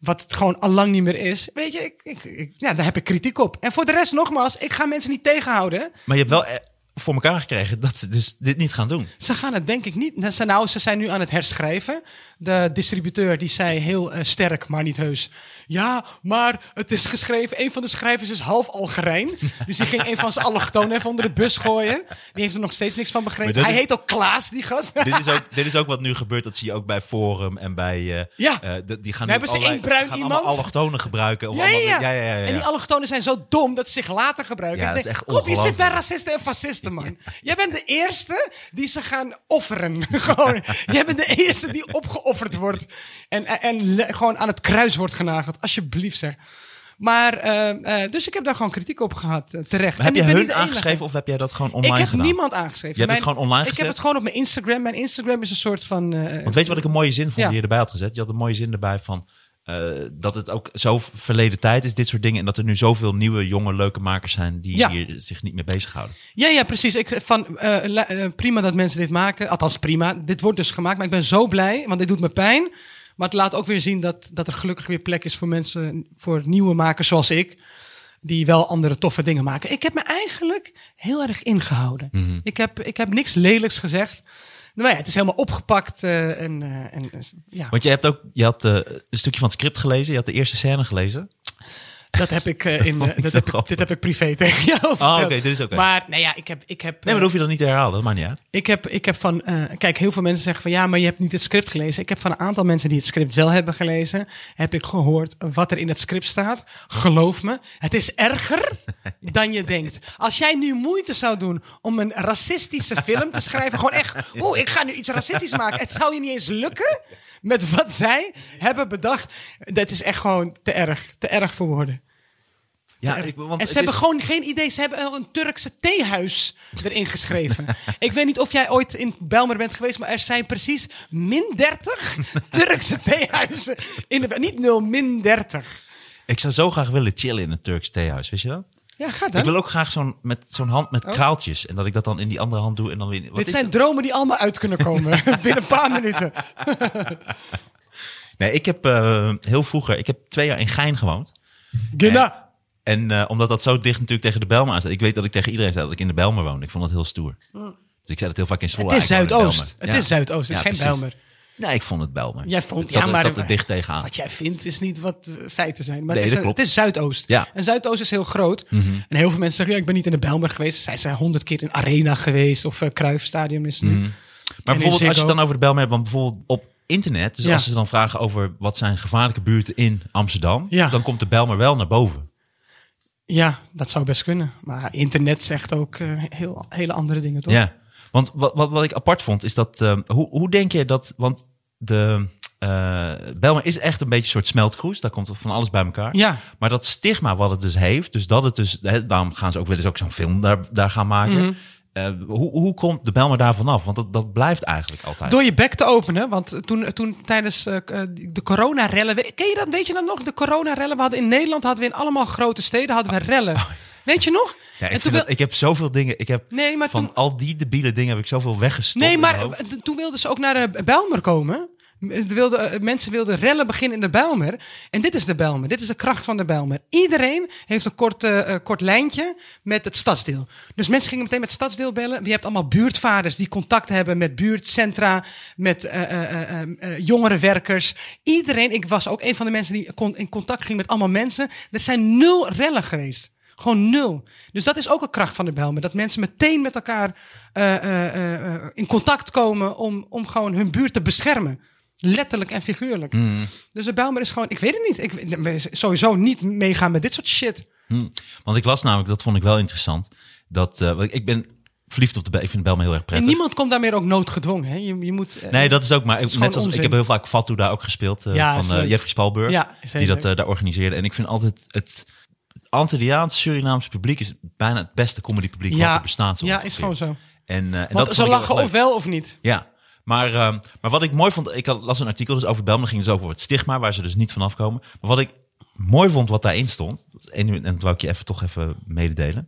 Wat het gewoon al lang niet meer is. Weet je, ik, ik, ik- ja, daar heb ik kritiek op. En voor de rest, nogmaals, ik ga mensen niet tegenhouden.
Maar je hebt wel eh, voor elkaar gekregen dat ze dus dit niet gaan doen.
Ze gaan het denk ik niet. Nou, ze- Nou, ze zijn nu aan het herschrijven. De distributeur die zei heel eh, sterk, maar niet heus. Ja, maar het is geschreven. Een van de schrijvers is half Algerijn. Dus die ging een van zijn allochtonen even onder de bus gooien. Die heeft er nog steeds niks van begrepen.
Maar dat
Hij
is-
heet ook Klaas, die gast.
dit, is ook, dit is ook wat nu gebeurt. Dat zie je ook bij Forum en bij... eh,
Ja.
eh, de- die gaan
We hebben ze
allerlei-
één bruin
gaan
iemand.
allemaal allochtonen gebruiken. om
Ja ja ja.
allemaal- ja, ja, ja, ja.
En die allochtonen zijn zo dom dat ze zich later gebruiken.
Ja,
Ik
dat
denk,
is echt
Kop, je zit bij
ongelooflijk.
racisten en fascisten. eerste, man. Jij bent de eerste die ze gaan offeren. gewoon. Jij bent de eerste die opgeofferd wordt. En, en, en le- gewoon aan het kruis wordt genageld. Alsjeblieft, zeg. Maar, eh, eh, dus ik heb daar gewoon kritiek op gehad, eh, terecht.
Maar heb
En
je
ik ben
hun
niet de enige.
aangeschreven of heb jij dat gewoon online
Ik heb
gedaan?
niemand aangeschreven.
Je hebt het
Mijn-
gewoon online
Ik heb
gezet?
het gewoon op mijn Instagram. Mijn Instagram is een soort van... eh,
Want weet je wat ik een mooie zin vond
Ja.
die je erbij had gezet? Je had een mooie zin erbij van eh, dat het ook zo verleden tijd is, dit soort dingen. En dat er nu zoveel nieuwe, jonge, leuke makers zijn die
Ja.
hier zich niet mee bezighouden.
Ja, ja, precies. Ik, van, eh, la- eh, prima dat mensen dit maken. Althans, prima. Dit wordt dus gemaakt. Maar ik ben zo blij, want dit doet me pijn. Maar het laat ook weer zien dat, dat er gelukkig weer plek is voor mensen, voor nieuwe makers zoals ik. Die wel andere toffe dingen maken. Ik heb me eigenlijk heel erg ingehouden.
Mhm.
ik, heb, ik heb niks lelijks gezegd. Nou ja, het is helemaal opgepakt. eh, en, eh, en, eh, ja,
Want je hebt ook, je had eh, een stukje van het script gelezen, je had de eerste scène gelezen.
dat heb ik eh, in. eh,
vond ik
dat
zo
heb ik,
grappig.
dit heb ik privé tegen jou.
Oh, oké,
verteld.
dit is oké.
Maar nou ja, ik heb. Ik heb
Nee,
eh,
maar dat hoef je dan niet te herhalen, dat maakt niet uit.
Ik heb, ik heb van, eh, kijk, heel veel mensen zeggen van ja, maar je hebt niet het script gelezen. Ik heb van een aantal mensen die het script wel hebben gelezen, heb ik gehoord wat er in het script staat. Geloof me, het is erger dan je denkt. Als jij nu moeite zou doen om een racistische film te schrijven, gewoon echt, oeh, ik ga nu iets racistisch maken. Het zou je niet eens lukken met wat zij hebben bedacht. Dat is echt gewoon te erg, te erg voor woorden.
Ja,
Er-
ik, want
en ze
het
hebben
is-
gewoon geen idee. Ze hebben al een Turkse theehuis erin geschreven. ik weet niet of jij ooit in Bijlmer bent geweest, maar er zijn precies min 30 Turkse theehuizen. In de, niet nul, min 30.
ik zou zo graag willen chillen in een Turks theehuis, weet je dat?
Ja, ga
Ik wil
dan. Oh.
ook graag zo'n met zo'n hand met kraaltjes en dat ik dat dan in die andere hand doe en dan weer. wat
Dit
is
zijn
dat?
dromen die allemaal uit kunnen komen binnen een paar minuten.
Nee, ik heb eh, heel vroeger, ik heb twee jaar in Gein gewoond.
Gina.
En eh, omdat dat zo dicht natuurlijk tegen de Bijlmer aan staat. Ik weet dat ik tegen iedereen zei dat ik in de Bijlmer woonde. Ik vond dat heel stoer. Dus ik zei dat heel vaak in Zwolle.
Hm. Het is
ja, ik woon in
Zuidoost.
Bijlmer.
Het is Zuidoost, het is geen Bijlmer.
Nee, ik vond het Bijlmer.
Jij vond,
het zat,
ja,
het
maar
zat er dicht tegenaan.
Wat jij vindt is niet wat eh, feiten zijn. Maar
Ah. Nee,
het, is,
dat klopt.
het is Zuidoost.
Ja. Mhm.
En Zuidoost is heel groot. En heel veel mensen zeggen, ja, ik ben niet in de Belmer geweest. Zij zijn honderd keer in Arena geweest of eh Kruifstadium is het nu.
Mhm. Maar
in
bijvoorbeeld als je
Ziggo.
het dan over de Bijlmer hebt, dan bijvoorbeeld op internet. Dus
Ja.
als ze dan vragen over wat zijn gevaarlijke buurten in Amsterdam,
Ja.
dan komt de Bijlmer wel naar boven.
Ja, dat zou best kunnen. Maar internet zegt ook eh, heel, hele andere dingen, toch?
Ja, want wat, wat, wat ik apart vond is dat, ehm, hoe, hoe denk je dat, want de eh Bijlmer is echt een beetje een soort smeltkroes, daar komt van alles bij elkaar.
Ja.
Maar dat stigma wat het dus heeft, dus dat het dus, hè, daarom gaan ze ook wel eens ook zo'n film daar, daar gaan maken.
Mhm.
Eh, hoe, hoe komt de Bijlmer daar vanaf? Want dat, dat blijft eigenlijk altijd.
Door je bek te openen, want toen, toen tijdens eh, eh, de coronarellen... we- Ken je dat, weet je dat nog? De coronarellen, we hadden in Nederland hadden we in allemaal grote steden hadden we rellen. Weet je nog?
Ah. Oh. Ja, ik,
En
vind
toen
dat-
wil-
ik heb zoveel dingen, ik heb
Nee, maar
van
toen-
al die debiele dingen heb ik zoveel weggestopt.
Nee,
in
maar
mijn hoofd.
d- toen wilden ze ook naar de Bijlmer komen. M- Wilde, eh, mensen wilden rellen beginnen in de Bijlmer. En dit is de Bijlmer. Dit is de kracht van de Bijlmer. Iedereen heeft een kort, eh, eh, kort lijntje met het stadsdeel. Dus mensen gingen meteen met het stadsdeel bellen. Je hebt allemaal buurtvaders die contact hebben met buurtcentra, met eh, eh, eh, eh, eh, jongerenwerkers. Iedereen, ik was ook een van de mensen die kon- in contact ging met allemaal mensen. Er zijn nul rellen geweest. Gewoon nul. Dus dat is ook een kracht van de Bijlmer. Dat mensen meteen met elkaar eh, eh, eh, eh, in contact komen om, om gewoon hun buurt te beschermen. Letterlijk en figuurlijk.
Mm.
Dus de Bijlmer is gewoon, ik weet het niet. Ik weet- sowieso niet meegaan met dit soort shit.
Hm. Want ik las namelijk, dat vond ik wel interessant, dat, eh, want ik ben verliefd op de Bijlmer, ik vind de Bijlmer heel erg
En
prettig.
niemand komt daar meer ook noodgedwongen. Hè? Je, je moet, eh,
Nee, dat is ook maar.
is
net
gewoon
als, ik
onzin.
heb heel vaak Fatou daar ook gespeeld eh,
Ja, is
van eh
leuk.
Jeffrey Spalburg.
Ja,
die
zeker.
dat eh, daar organiseerde. En ik vind altijd het, het Antilliaans Surinaamse publiek is bijna het beste comedy publiek wat er bestaat. zo
ja,
ongeveer.
is gewoon zo.
En, eh, en dat
Want
vond
ze
ik heel erg
lachen
leuk.
of wel of niet.
Ja, maar, ehm, maar wat ik mooi vond, ik had- las een artikel dus over Belmen, ging dus over het stigma, waar ze dus niet vanaf komen. Maar wat ik mooi vond, wat daarin stond, en, en dat wou ik je even toch even mededelen,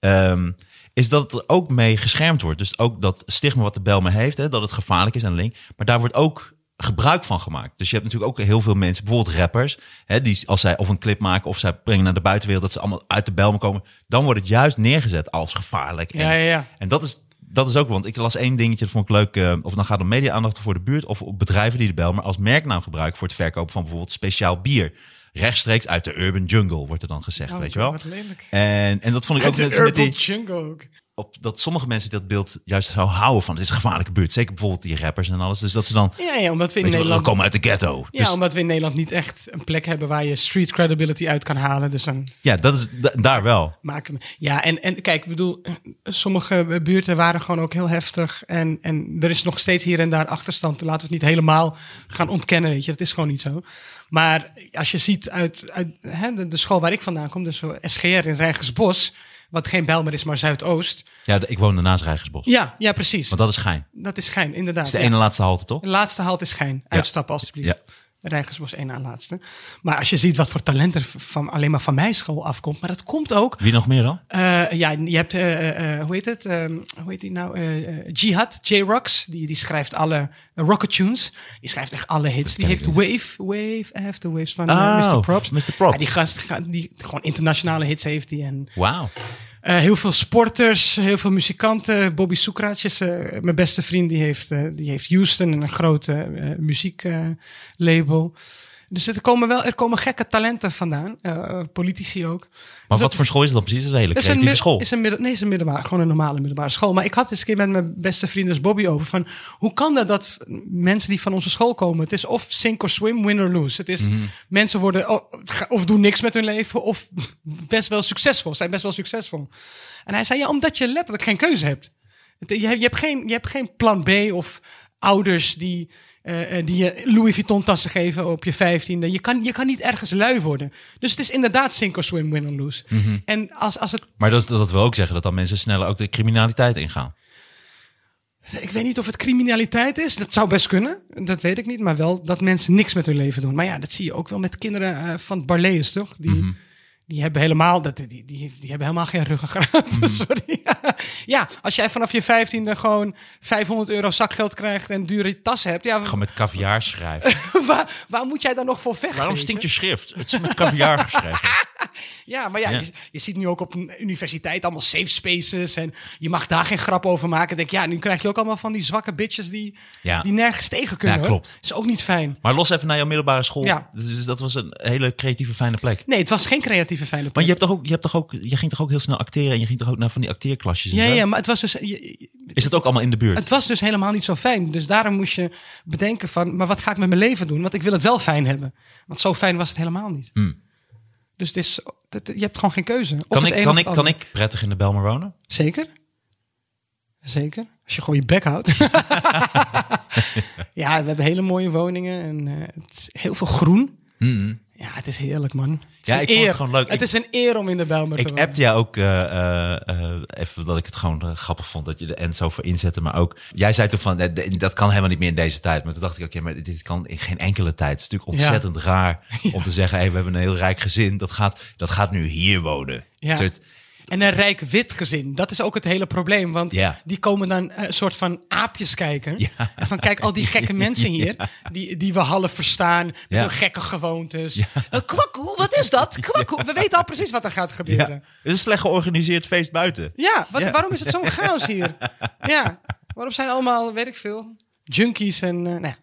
ehm, is dat het er ook mee geschermd wordt. Dus ook dat stigma wat de Belmen heeft, hè, dat het gevaarlijk is en link, maar daar wordt ook gebruik van gemaakt. Dus je hebt natuurlijk ook heel veel mensen, bijvoorbeeld rappers, hè, die als zij of een clip maken of zij brengen naar de buitenwereld dat ze allemaal uit de Belmen komen, dan wordt het juist neergezet als gevaarlijk.
Ja, ja, ja.
En dat is, dat is ook, want ik las één dingetje, dat vond ik leuk. eh, of het dan gaat om media-aandacht voor de buurt of op bedrijven die de Bijlmer als merknaam gebruiken voor het verkopen van bijvoorbeeld speciaal bier. Rechtstreeks uit de urban jungle, wordt er dan gezegd,
Oh,
weet je wel.
Wat lelijk.
En, en dat vond ik
Uit
ook
de
net zo met
urban
die,
jungle ook.
op dat sommige mensen dat beeld juist zou houden van. Het is een gevaarlijke buurt. Zeker bijvoorbeeld die rappers en alles. Dus dat ze dan.
Ja, ja, omdat we in
Weet je, wel, we
Nederland...
komen uit de ghetto.
ja,
dus,
omdat we in Nederland niet echt een plek hebben waar je street credibility uit kan halen. Dus dan
ja dat is da- daar wel.
maken we... Ja, en, en kijk, ik bedoel, eh, sommige buurten waren gewoon ook heel heftig. En, en er is nog steeds hier en daar achterstand. Laten we het niet helemaal gaan ontkennen, weet je. Dat is gewoon niet zo. Maar als je ziet uit, uit hè, de, de school waar ik vandaan kom, dus zo SGR in Rijgersbos... wat geen Bijl meer is, maar Zuidoost.
Ja, de- ik woonde naast Rijgersbos.
Ja, ja precies.
Want dat is gein. Dat
Dat is schijn, inderdaad.
is de
ja.
ene laatste halte, toch?
De laatste halt is schijn. Uitstappen alstublieft.
Ja.
Rijgersbos één aan laatste. Maar als je ziet wat voor talent er van, alleen maar van mijn school afkomt. Maar dat komt ook.
Wie nog meer dan?
eh, ja, je hebt, eh, eh, eh, hoe heet het? Ehm, hoe heet die nou? Eh, eh, Jihad, J-Rox. Die, die schrijft alle eh, rocket tunes. Die schrijft echt alle hits. Die
ken ik
heeft Wave, Wave After Waves van eh,
Oh,
Mr. Props.
Mr. Props.
Ja, die gast, gaat- die, gewoon internationale hits heeft die. En
Wauw.
eh, heel veel sporters, heel veel muzikanten. Bobby Soekratjes, eh, mijn beste vriend, die heeft, eh, die heeft Houston, een grote muzieklabel. dus er komen wel er komen gekke talenten vandaan, eh, eh, politici ook.
Maar
Dus
wat voor school is dat dan precies? Dat is een hele
dat is een
creatieve
mid-
school.
Is een midden, nee, is een middelbare, gewoon een normale middelbare school. Maar ik had eens een keer met mijn beste vriend, dus Bobby, over van hoe kan dat dat mensen die van onze school komen, het is of sink or swim, win or lose. Het is mensen worden o- ga- of doen niks met hun leven of best wel succesvol, zijn best wel succesvol. En hij zei ja, omdat je letterlijk geen keuze hebt. Het- Je hebt, je hebt, geen, je hebt geen plan B of ouders die, eh, eh, die je Louis Vuitton tassen geven op je vijftiende. Je kan, je kan niet ergens lui worden. Dus het is inderdaad sink or swim, win or lose. En als, als het
Maar dat, dat wil ook zeggen dat dan mensen sneller ook de criminaliteit ingaan.
Ik weet niet of het criminaliteit is. Dat zou best kunnen. Dat weet ik niet. Maar wel dat mensen niks met hun leven doen. Maar ja, dat zie je ook wel met kinderen eh, van het Barlees, toch? Die,
Mhm.
die hebben helemaal dat, die, die, die hebben helemaal geen ruggengraat.
Mhm.
Sorry. ja, als jij vanaf je vijftiende gewoon 500 euro zakgeld krijgt en dure tas hebt. Ja,
Gewoon met caviar schrijven.
waar, waar moet jij dan nog voor vechten?
Waarom
weet
stinkt
je?
je schrift? Het is met caviar geschreven.
Ja, maar ja,
Ja.
Je, je ziet nu ook op een universiteit allemaal safe spaces. En je mag daar geen grap over maken. Denk, ja, nu krijg je ook allemaal van die zwakke bitches die,
Ja.
die nergens tegen kunnen.
Ja,
hoor.
klopt.
Is ook niet fijn.
Maar los even naar jouw middelbare school.
Ja.
Dus dat was een hele creatieve, fijne plek.
Nee, het was geen creatieve fijne
Maar
plek.
je, hebt toch ook, je, hebt toch ook, je ging toch ook heel snel acteren en je ging toch ook naar van die acteerklasjes en
ja,
zo?
ja, maar het was, dus, je-
Is dat ook allemaal in de buurt?
het was dus helemaal niet zo fijn. Dus daarom moest je bedenken van, maar wat ga ik met mijn leven doen? Want ik wil het wel fijn hebben. Want zo fijn was het helemaal niet. Dus het is, het- je hebt gewoon geen keuze. Of
Hmm. kan,
het
ik,
een
kan,
of
ik,
het
kan
ander.
ik prettig in de Belmer wonen?
Zeker? Zeker? Als je gewoon je bek houdt. ja, we hebben hele mooie woningen en eh, het is heel veel groen. Ja, het is heerlijk, man. Het is
Mm-hmm. Ja,
een
ik vond het
eer.
gewoon leuk.
Het
Ik-
is een eer om in de Bijlmer te
Ik
wonen.
appte jou ook eh, eh, eh, even dat ik het gewoon eh, grappig vond dat je de end zo voor inzette. Maar ook, jij zei toen van, eh, de- dat kan helemaal niet meer in deze tijd. Maar toen dacht ik, oké, maar dit kan in geen enkele tijd. Het is natuurlijk ontzettend raar om te zeggen, hey, we hebben een heel rijk gezin. Dat gaat, dat gaat nu hier wonen.
Ja.
Een soort-
En een rijk wit gezin. Dat is ook het hele probleem. Want
Ja.
die komen dan eh, een soort van aapjes kijken.
Ja.
En Van kijk, al die gekke mensen hier. Die, die we half verstaan. Met
Ja.
hun gekke gewoontes. Eh, kwakkoe, wat is dat? Kwakkoe. We weten al precies wat er gaat
ja.
gebeuren.
Het is een slecht georganiseerd feest buiten.
Ja, wat,
Ja.
waarom is het zo'n chaos hier? Ja, waarom zijn allemaal, weet ik veel, junkies en... eh, nee.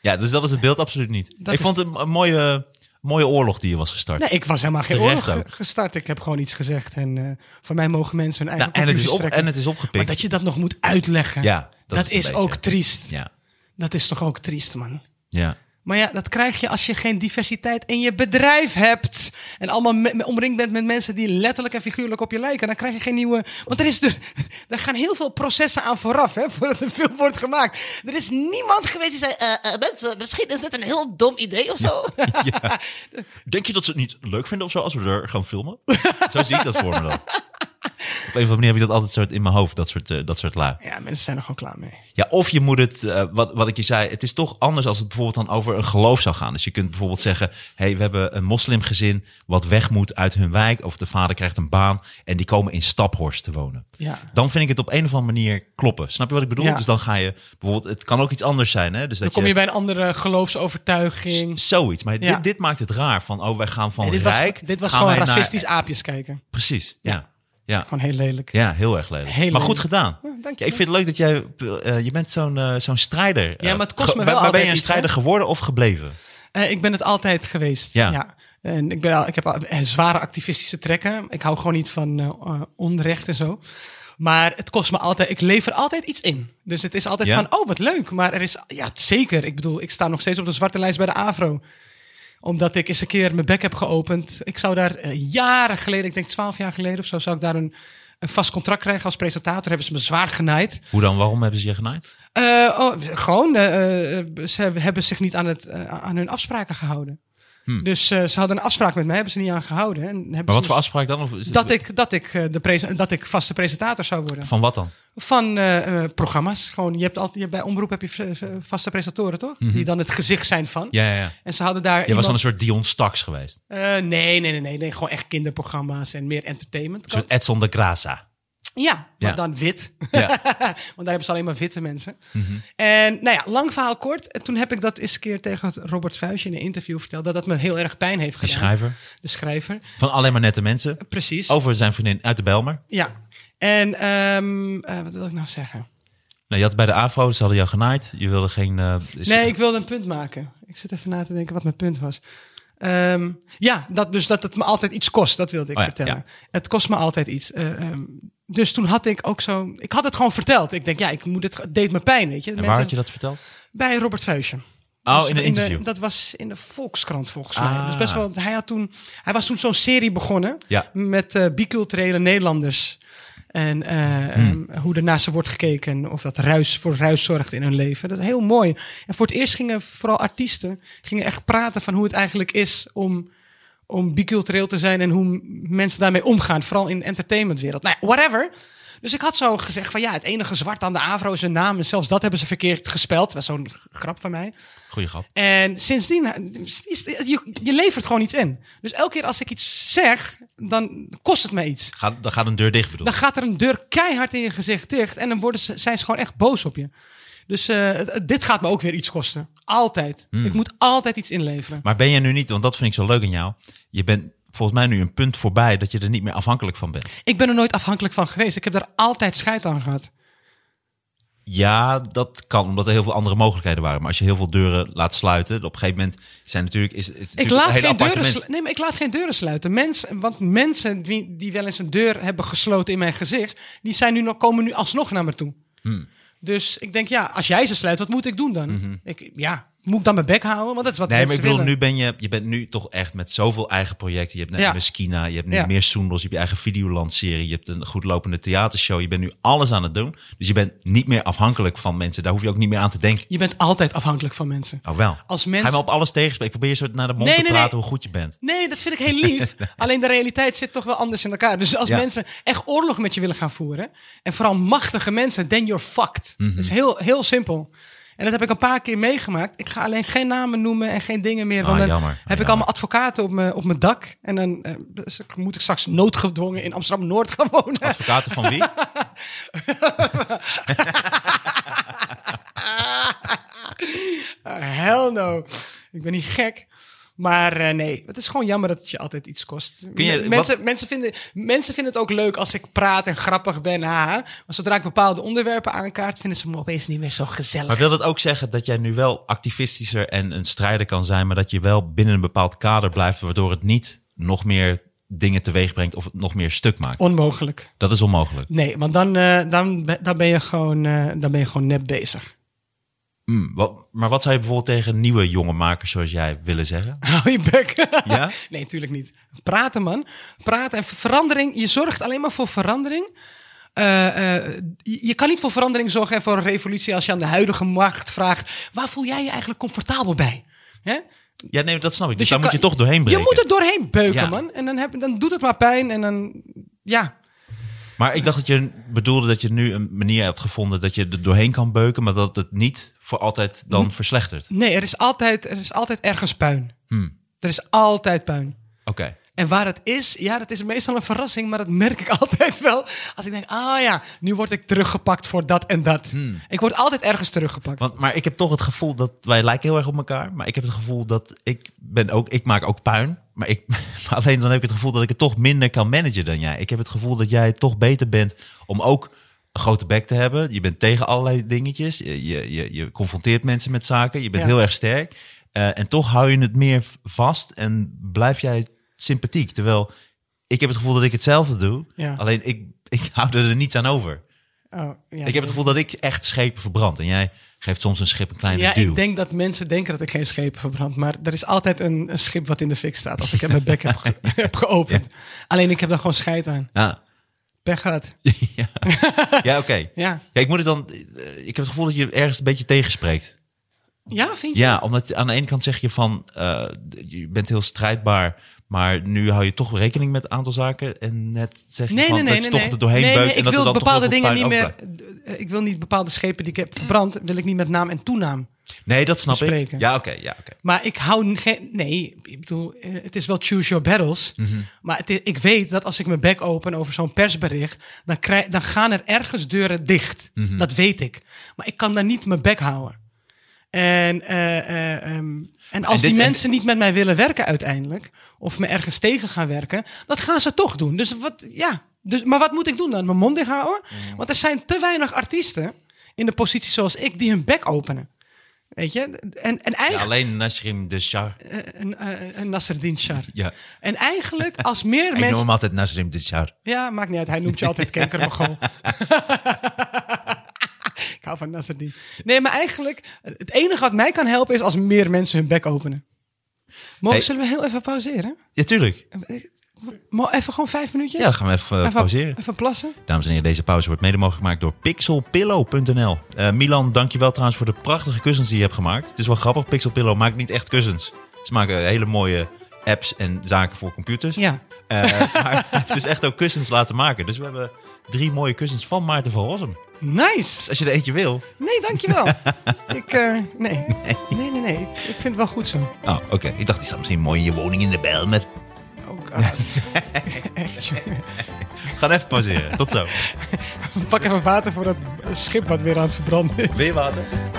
Ja, dus dat is het beeld absoluut niet.
Dat
ik
is-
vond het een, een mooie, mooie oorlog die je was gestart.
nee, ik was helemaal geen
Terecht
oorlog ge-
ook.
gestart. Ik heb gewoon iets gezegd en eh, voor mij mogen mensen hun eigen
Nou, en, het is
conclusies
op,
trekken.
en het is
Maar
opgepikt.
dat je dat nog moet uitleggen,
Ja,
dat,
dat
is,
is een beetje-
ook triest.
Ja,
Dat is toch ook triest, man.
ja.
Maar ja, dat krijg je als je geen diversiteit in je bedrijf hebt. En allemaal me- me- omringd bent met mensen die letterlijk en figuurlijk op je lijken. Dan krijg je geen nieuwe. Want er, is dus, er gaan heel veel processen aan vooraf, hè, voordat een film wordt gemaakt. Er is niemand geweest die zei: eh, eh, mensen, misschien is dit een heel dom idee of zo.
Denk je dat ze het niet leuk vinden of zo als we er gaan filmen? zo zie ik dat voor me dan. Op een of andere manier heb ik dat altijd soort in mijn hoofd, dat soort, eh, dat soort lui.
Ja, mensen zijn er gewoon klaar mee.
Ja, of je moet het, eh, wat, wat ik je zei, het is toch anders als het bijvoorbeeld dan over een geloof zou gaan. Dus je kunt bijvoorbeeld zeggen, hey, we hebben een moslimgezin wat weg moet uit hun wijk. Of de vader krijgt een baan en die komen in Staphorst te wonen.
Ja.
Dan vind ik het op een of andere manier kloppen. Snap je wat ik bedoel?
Ja.
Dus dan ga je bijvoorbeeld, het kan ook iets anders zijn. Hè? Dus
Dan
dat
kom je
je
bij een andere geloofsovertuiging.
Zoiets, maar
Ja.
dit, dit maakt het raar van, oh, wij gaan van
Nee, dit was,
rijk.
dit was
gaan
gewoon
wij naar-
racistisch aapjes kijken.
Precies, ja. ja.
Gewoon heel lelijk.
Ja, heel erg lelijk.
Heel
maar goed
lelijk.
gedaan.
Ja, dank je
ik vind het leuk dat jij... eh, je bent zo'n eh, zo'n strijder.
Ja,
eh,
maar het kost me wel
ge- maar- Maar ben
altijd
je een
iets, hè?
strijder geworden of gebleven?
Eh, ik ben het altijd geweest. Ja.
Ja.
En ik, ben al, ik heb al, eh, zware activistische trekken. Ik hou gewoon niet van eh, eh, onrecht en zo. Maar het kost me altijd, ik lever altijd iets in. Dus het is altijd
Ja?
van, oh wat leuk. Maar er is, ja zeker. Ik bedoel, ik sta nog steeds op de zwarte lijst bij de AVRO. Omdat ik eens een keer mijn bek heb geopend. Ik zou daar eh, jaren geleden, ik denk twaalf jaar geleden of zo, zou ik daar een, een vast contract krijgen als presentator. Hebben ze me zwaar genaaid.
Hoe dan? Waarom hebben ze je genaaid?
Eh, oh, gewoon, eh, eh, ze hebben zich niet aan, het, eh, aan hun afspraken gehouden. Dus eh, ze hadden een afspraak met mij, hebben ze niet aan gehouden. En hebben
Hmm. Maar
ze
wat voor
dus-
afspraak dan? Of is het-
Dat ik, dat, ik, eh, de prese- dat ik vaste presentator zou worden.
Van wat dan?
Van eh, eh, programma's. Gewoon, je hebt altijd, je, bij Omroep heb je v- eh, vaste presentatoren, toch? Die dan het gezicht zijn van.
Mhm. Ja, ja, ja.
En ze hadden daar.
Je was dan
iemand-
een soort Dion Staks geweest. Een
Eh, nee, nee, nee, nee, nee. Gewoon echt kinderprogramma's en meer entertainment.
soort Edson de Graza.
Ja, maar
Ja.
dan wit.
Ja. Mhm.
Want daar hebben ze alleen maar witte mensen. En nou ja, lang verhaal kort. En toen heb ik dat eens een keer tegen Robert Vuijsje in een interview verteld. Dat dat me heel erg pijn heeft
Die
gedaan.
schrijver.
De schrijver.
Van alleen maar nette mensen.
Precies.
Over zijn vriendin uit de Belmer.
Ja. En ehm, eh, wat wil ik nou zeggen?
Nou, je had bij de AVO, ze hadden jou genaaid. Je wilde geen... eh, is-
Nee, ik wilde een punt maken. Ik zit even na te denken wat mijn punt was. Ehm, ja, dat, dus dat het me altijd iets kost, dat wilde ik
Oh ja,
vertellen.
ja.
Het kost me altijd iets. Eh, ehm, dus toen had ik ook zo... Ik had het gewoon verteld. Ik denk, ja, ik moet het, het deed me pijn, weet je.
En waar
Mensen-
had je dat verteld?
Bij Robert Vuijsje.
Oh,
Dus
in een
de-
interview.
dat was in de Volkskrant volgens
Ah.
mij. Dus best wel, hij, had toen, hij was toen zo'n serie begonnen
Ja.
met eh, biculturele Nederlanders. En eh, ehm, hoe er naar ze wordt gekeken. Of dat ruis voor ruis zorgt in hun leven. Dat is heel mooi. En voor het eerst gingen vooral artiesten gingen echt praten van hoe het eigenlijk is om, om bicultureel te zijn. En hoe m- mensen daarmee omgaan. Vooral in de entertainmentwereld. Nou ja, whatever. Dus ik had zo gezegd van ja, het enige zwart aan de Avro is een naam. En zelfs dat hebben ze verkeerd gespeld. Dat was zo'n g- grap van mij.
Goeie grap.
En sindsdien, is- je, je levert gewoon iets in. Dus elke keer als ik iets zeg, dan kost het mij iets.
Gaat, dan gaat een deur dicht bedoel
Dan gaat er een deur keihard in je gezicht dicht en dan worden ze, zijn ze gewoon echt boos op je. Dus eh, het- het- dit gaat me ook weer iets kosten. Altijd. Ik moet altijd iets inleveren.
Maar ben je nu niet, want dat vind ik zo leuk aan jou. Je bent volgens mij nu een punt voorbij dat je er niet meer afhankelijk van bent.
Ik ben er nooit afhankelijk van geweest. Ik heb daar altijd scheid aan gehad.
Ja, dat kan, omdat er heel veel andere mogelijkheden waren. Maar als je heel veel deuren laat sluiten, op een gegeven moment zijn natuurlijk... Is, het natuurlijk
Ik
een
laat,
hele
geen
aparte
deuren
mens.
slu- nee, maar ik laat geen deuren sluiten. Mensen, want mensen die, die wel eens een deur hebben gesloten in mijn gezicht, die zijn nu nog, komen nu alsnog naar me toe.
Hmm.
Dus ik denk, ja, als jij ze sluit, wat moet ik doen dan? ik, ja, moet ik dan mijn bek houden? Want dat is wat
Mhm. Nee, maar ik
mensen
bedoel,
willen.
nu ben je, je bent nu toch echt met zoveel eigen projecten. Je hebt net
Ja.
Meskina, je hebt nu
Ja.
meer Soendels, je hebt je eigen Videoland-serie, je hebt een goedlopende theatershow. Je bent nu alles aan het doen. Dus je bent niet meer afhankelijk van mensen. Daar hoef je ook niet meer aan te denken.
Je bent altijd afhankelijk van mensen.
Oh wel.
Als
Ga
mens-
je me op alles tegenspreken? Ik probeer je zo naar de mond
Nee,
te
nee,
praten
nee.
hoe goed je bent.
Nee, dat vind ik heel lief. Alleen de realiteit zit toch wel anders in elkaar. Dus als
Ja.
mensen echt oorlog met je willen gaan voeren, en vooral machtige mensen, then you're fucked.
Mhm.
Dat is heel, heel simpel. En dat heb ik een paar keer meegemaakt. Ik ga alleen geen namen noemen en geen dingen meer. Want
Ah,
dan
jammer. Ah,
heb ik
jammer.
allemaal advocaten op mijn, op mijn dak. En dan eh, moet ik straks noodgedwongen in Amsterdam-Noord gaan wonen.
Advocaten van wie?
Eh, Hell no. Ik ben niet gek. Maar eh, nee, het is gewoon jammer dat het je altijd iets kost.
Kun je-
mensen, mensen, vinden, mensen vinden het ook leuk als ik praat en grappig ben. haha. Maar zodra ik bepaalde onderwerpen aankaart, vinden ze me opeens niet meer zo gezellig.
Maar wil dat ook zeggen dat jij nu wel activistischer en een strijder kan zijn, maar dat je wel binnen een bepaald kader blijft, waardoor het niet nog meer dingen teweeg brengt of het nog meer stuk maakt?
Onmogelijk.
Dat is onmogelijk.
Nee, want dan, eh, dan, be- dan, ben je gewoon, eh, dan ben je gewoon nep bezig.
Hmm, wat- maar wat zou je bijvoorbeeld tegen nieuwe jonge makers zoals jij willen zeggen?
Hou je bek.
Ja?
Nee, natuurlijk niet. Praten, man. Praten en verandering. Je zorgt alleen maar voor verandering. Eh, eh, je je kan niet voor verandering zorgen en voor een revolutie als je aan de huidige macht vraagt: waar voel jij je eigenlijk comfortabel bij? Hè?
Ja, nee, dat snap ik. Dus, daar
kan-
moet je toch doorheen breken.
Je moet er doorheen beuken,
Ja.
man. En dan, heb, dan doet het maar pijn. En dan, ja.
Maar ik dacht dat je bedoelde dat je nu een manier hebt gevonden dat je er doorheen kan beuken, maar dat het niet voor altijd dan verslechtert. Oké.
Nee, er is altijd, er is altijd ergens puin.
Hmm.
Er is altijd puin. En waar het is, ja, dat is meestal een verrassing, maar dat merk ik altijd wel. Als ik denk, ah ja, nu word ik teruggepakt voor dat en dat. Ik word altijd ergens teruggepakt.
Hmm. Want, maar ik heb toch het gevoel dat wij lijken heel erg op elkaar. Maar ik heb het gevoel dat ik ben ook, ik maak ook puin. Maar, ik, maar alleen dan heb ik het gevoel dat ik het toch minder kan managen dan jij. Ik heb het gevoel dat jij toch beter bent om ook een grote bek te hebben. Je bent tegen allerlei dingetjes. Je, je, je, je confronteert mensen met zaken. Je bent
Ja.
heel erg sterk. Eh, en toch hou je het meer v- vast en blijf jij sympathiek. Terwijl ik heb het gevoel dat ik hetzelfde doe.
Ja.
Alleen ik ik hou er niets aan over.
Oh, ja,
ik heb het gevoel dat ik echt schepen verbrand. En jij geeft soms een schip een kleine
Ja,
duw.
ik denk dat mensen denken dat ik geen schepen verbrand. Maar er is altijd een, een schip wat in de fik staat. Als ik mijn bek heb, ge- heb geopend. Alleen ik heb daar gewoon scheid aan.
Ja,
Pech gehad.
ja. ja oké.
Ja.
Ja, ik moet het dan. eh, Ik heb het gevoel dat je ergens een beetje tegenspreekt.
Ja, vind je?
Ja, omdat aan de ene kant zeg je van eh, je bent heel strijdbaar, maar nu hou je toch rekening met een aantal zaken. En net zeg je
Nee,
van
nee, nee.
dat
nee,
je toch
nee.
er doorheen
nee,
beukt.
nee,
en
ik
dat er
wil
dan toch
bepaalde
heel veel
dingen niet
puin
meer.
overblijft.
eh, Ik wil niet bepaalde schepen die ik heb verbrand. Wil ik niet met naam en toenaam.
Nee, dat snap
bespreken.
ik. Ja, oké. ja, oké.
Maar ik hou n- geen. Nee, ik bedoel, eh, het is wel choose your battles.
Mhm.
Maar het i- ik weet dat als ik mijn bek open over zo'n persbericht. Dan, krijg, dan gaan er ergens deuren dicht.
Mhm.
Dat weet ik. Maar ik kan daar niet mijn bek houden. En, eh, eh, ehm, en als
dit-
die
en-
mensen niet met mij willen werken uiteindelijk. of me ergens tegen gaan werken. dat gaan ze toch doen. Dus wat, ja. Dus, maar wat moet ik doen dan? Mijn mond dicht houden?
Mhm.
Want er zijn te weinig artiesten. in de positie zoals ik. die hun bek openen. Weet je? En, en
Ja,
eigenlijk
alleen Nasrim de Shah.
een, eh, een Nasreddin Shar.
Ja.
En eigenlijk, als meer
Ik noem
mensen...
hem altijd Nasrim de Shah.
Ja, maakt niet uit. Hij noemt je altijd kankermogol. Ik hou van Nasreddin. Nee, maar eigenlijk, het enige wat mij kan helpen is als meer mensen hun bek openen. Mo,
Hey.
zullen we heel even pauzeren?
Ja, tuurlijk.
Mo, even gewoon vijf minuutjes?
Ja, dan gaan we even, eh,
even
pauzeren.
Even plassen?
Dames en heren, deze pauze wordt mede mogelijk gemaakt door pixelpillow.nl. Eh Milan, dankjewel trouwens voor de prachtige kussens die je hebt gemaakt. Het is wel grappig, Pixelpillow maakt niet echt kussens. Ze maken hele mooie apps en zaken voor computers.
Ja.
Eh, maar het is echt ook kussens laten maken. Dus we hebben drie mooie kussens van Maarten van Rossum. Dus
Nice!
als je er eentje wil...
Nee, dankjewel. ik, eh, nee. Nee, nee, nee. Ik vind het wel goed zo.
Oh, oké. Ik dacht, die staat misschien mooi in je woning in de bel. Met...
Oh god. Echt, jongen.
We gaan even pauzeren. Tot zo.
Pak even water voor dat schip wat weer aan het verbranden is.
Weer water?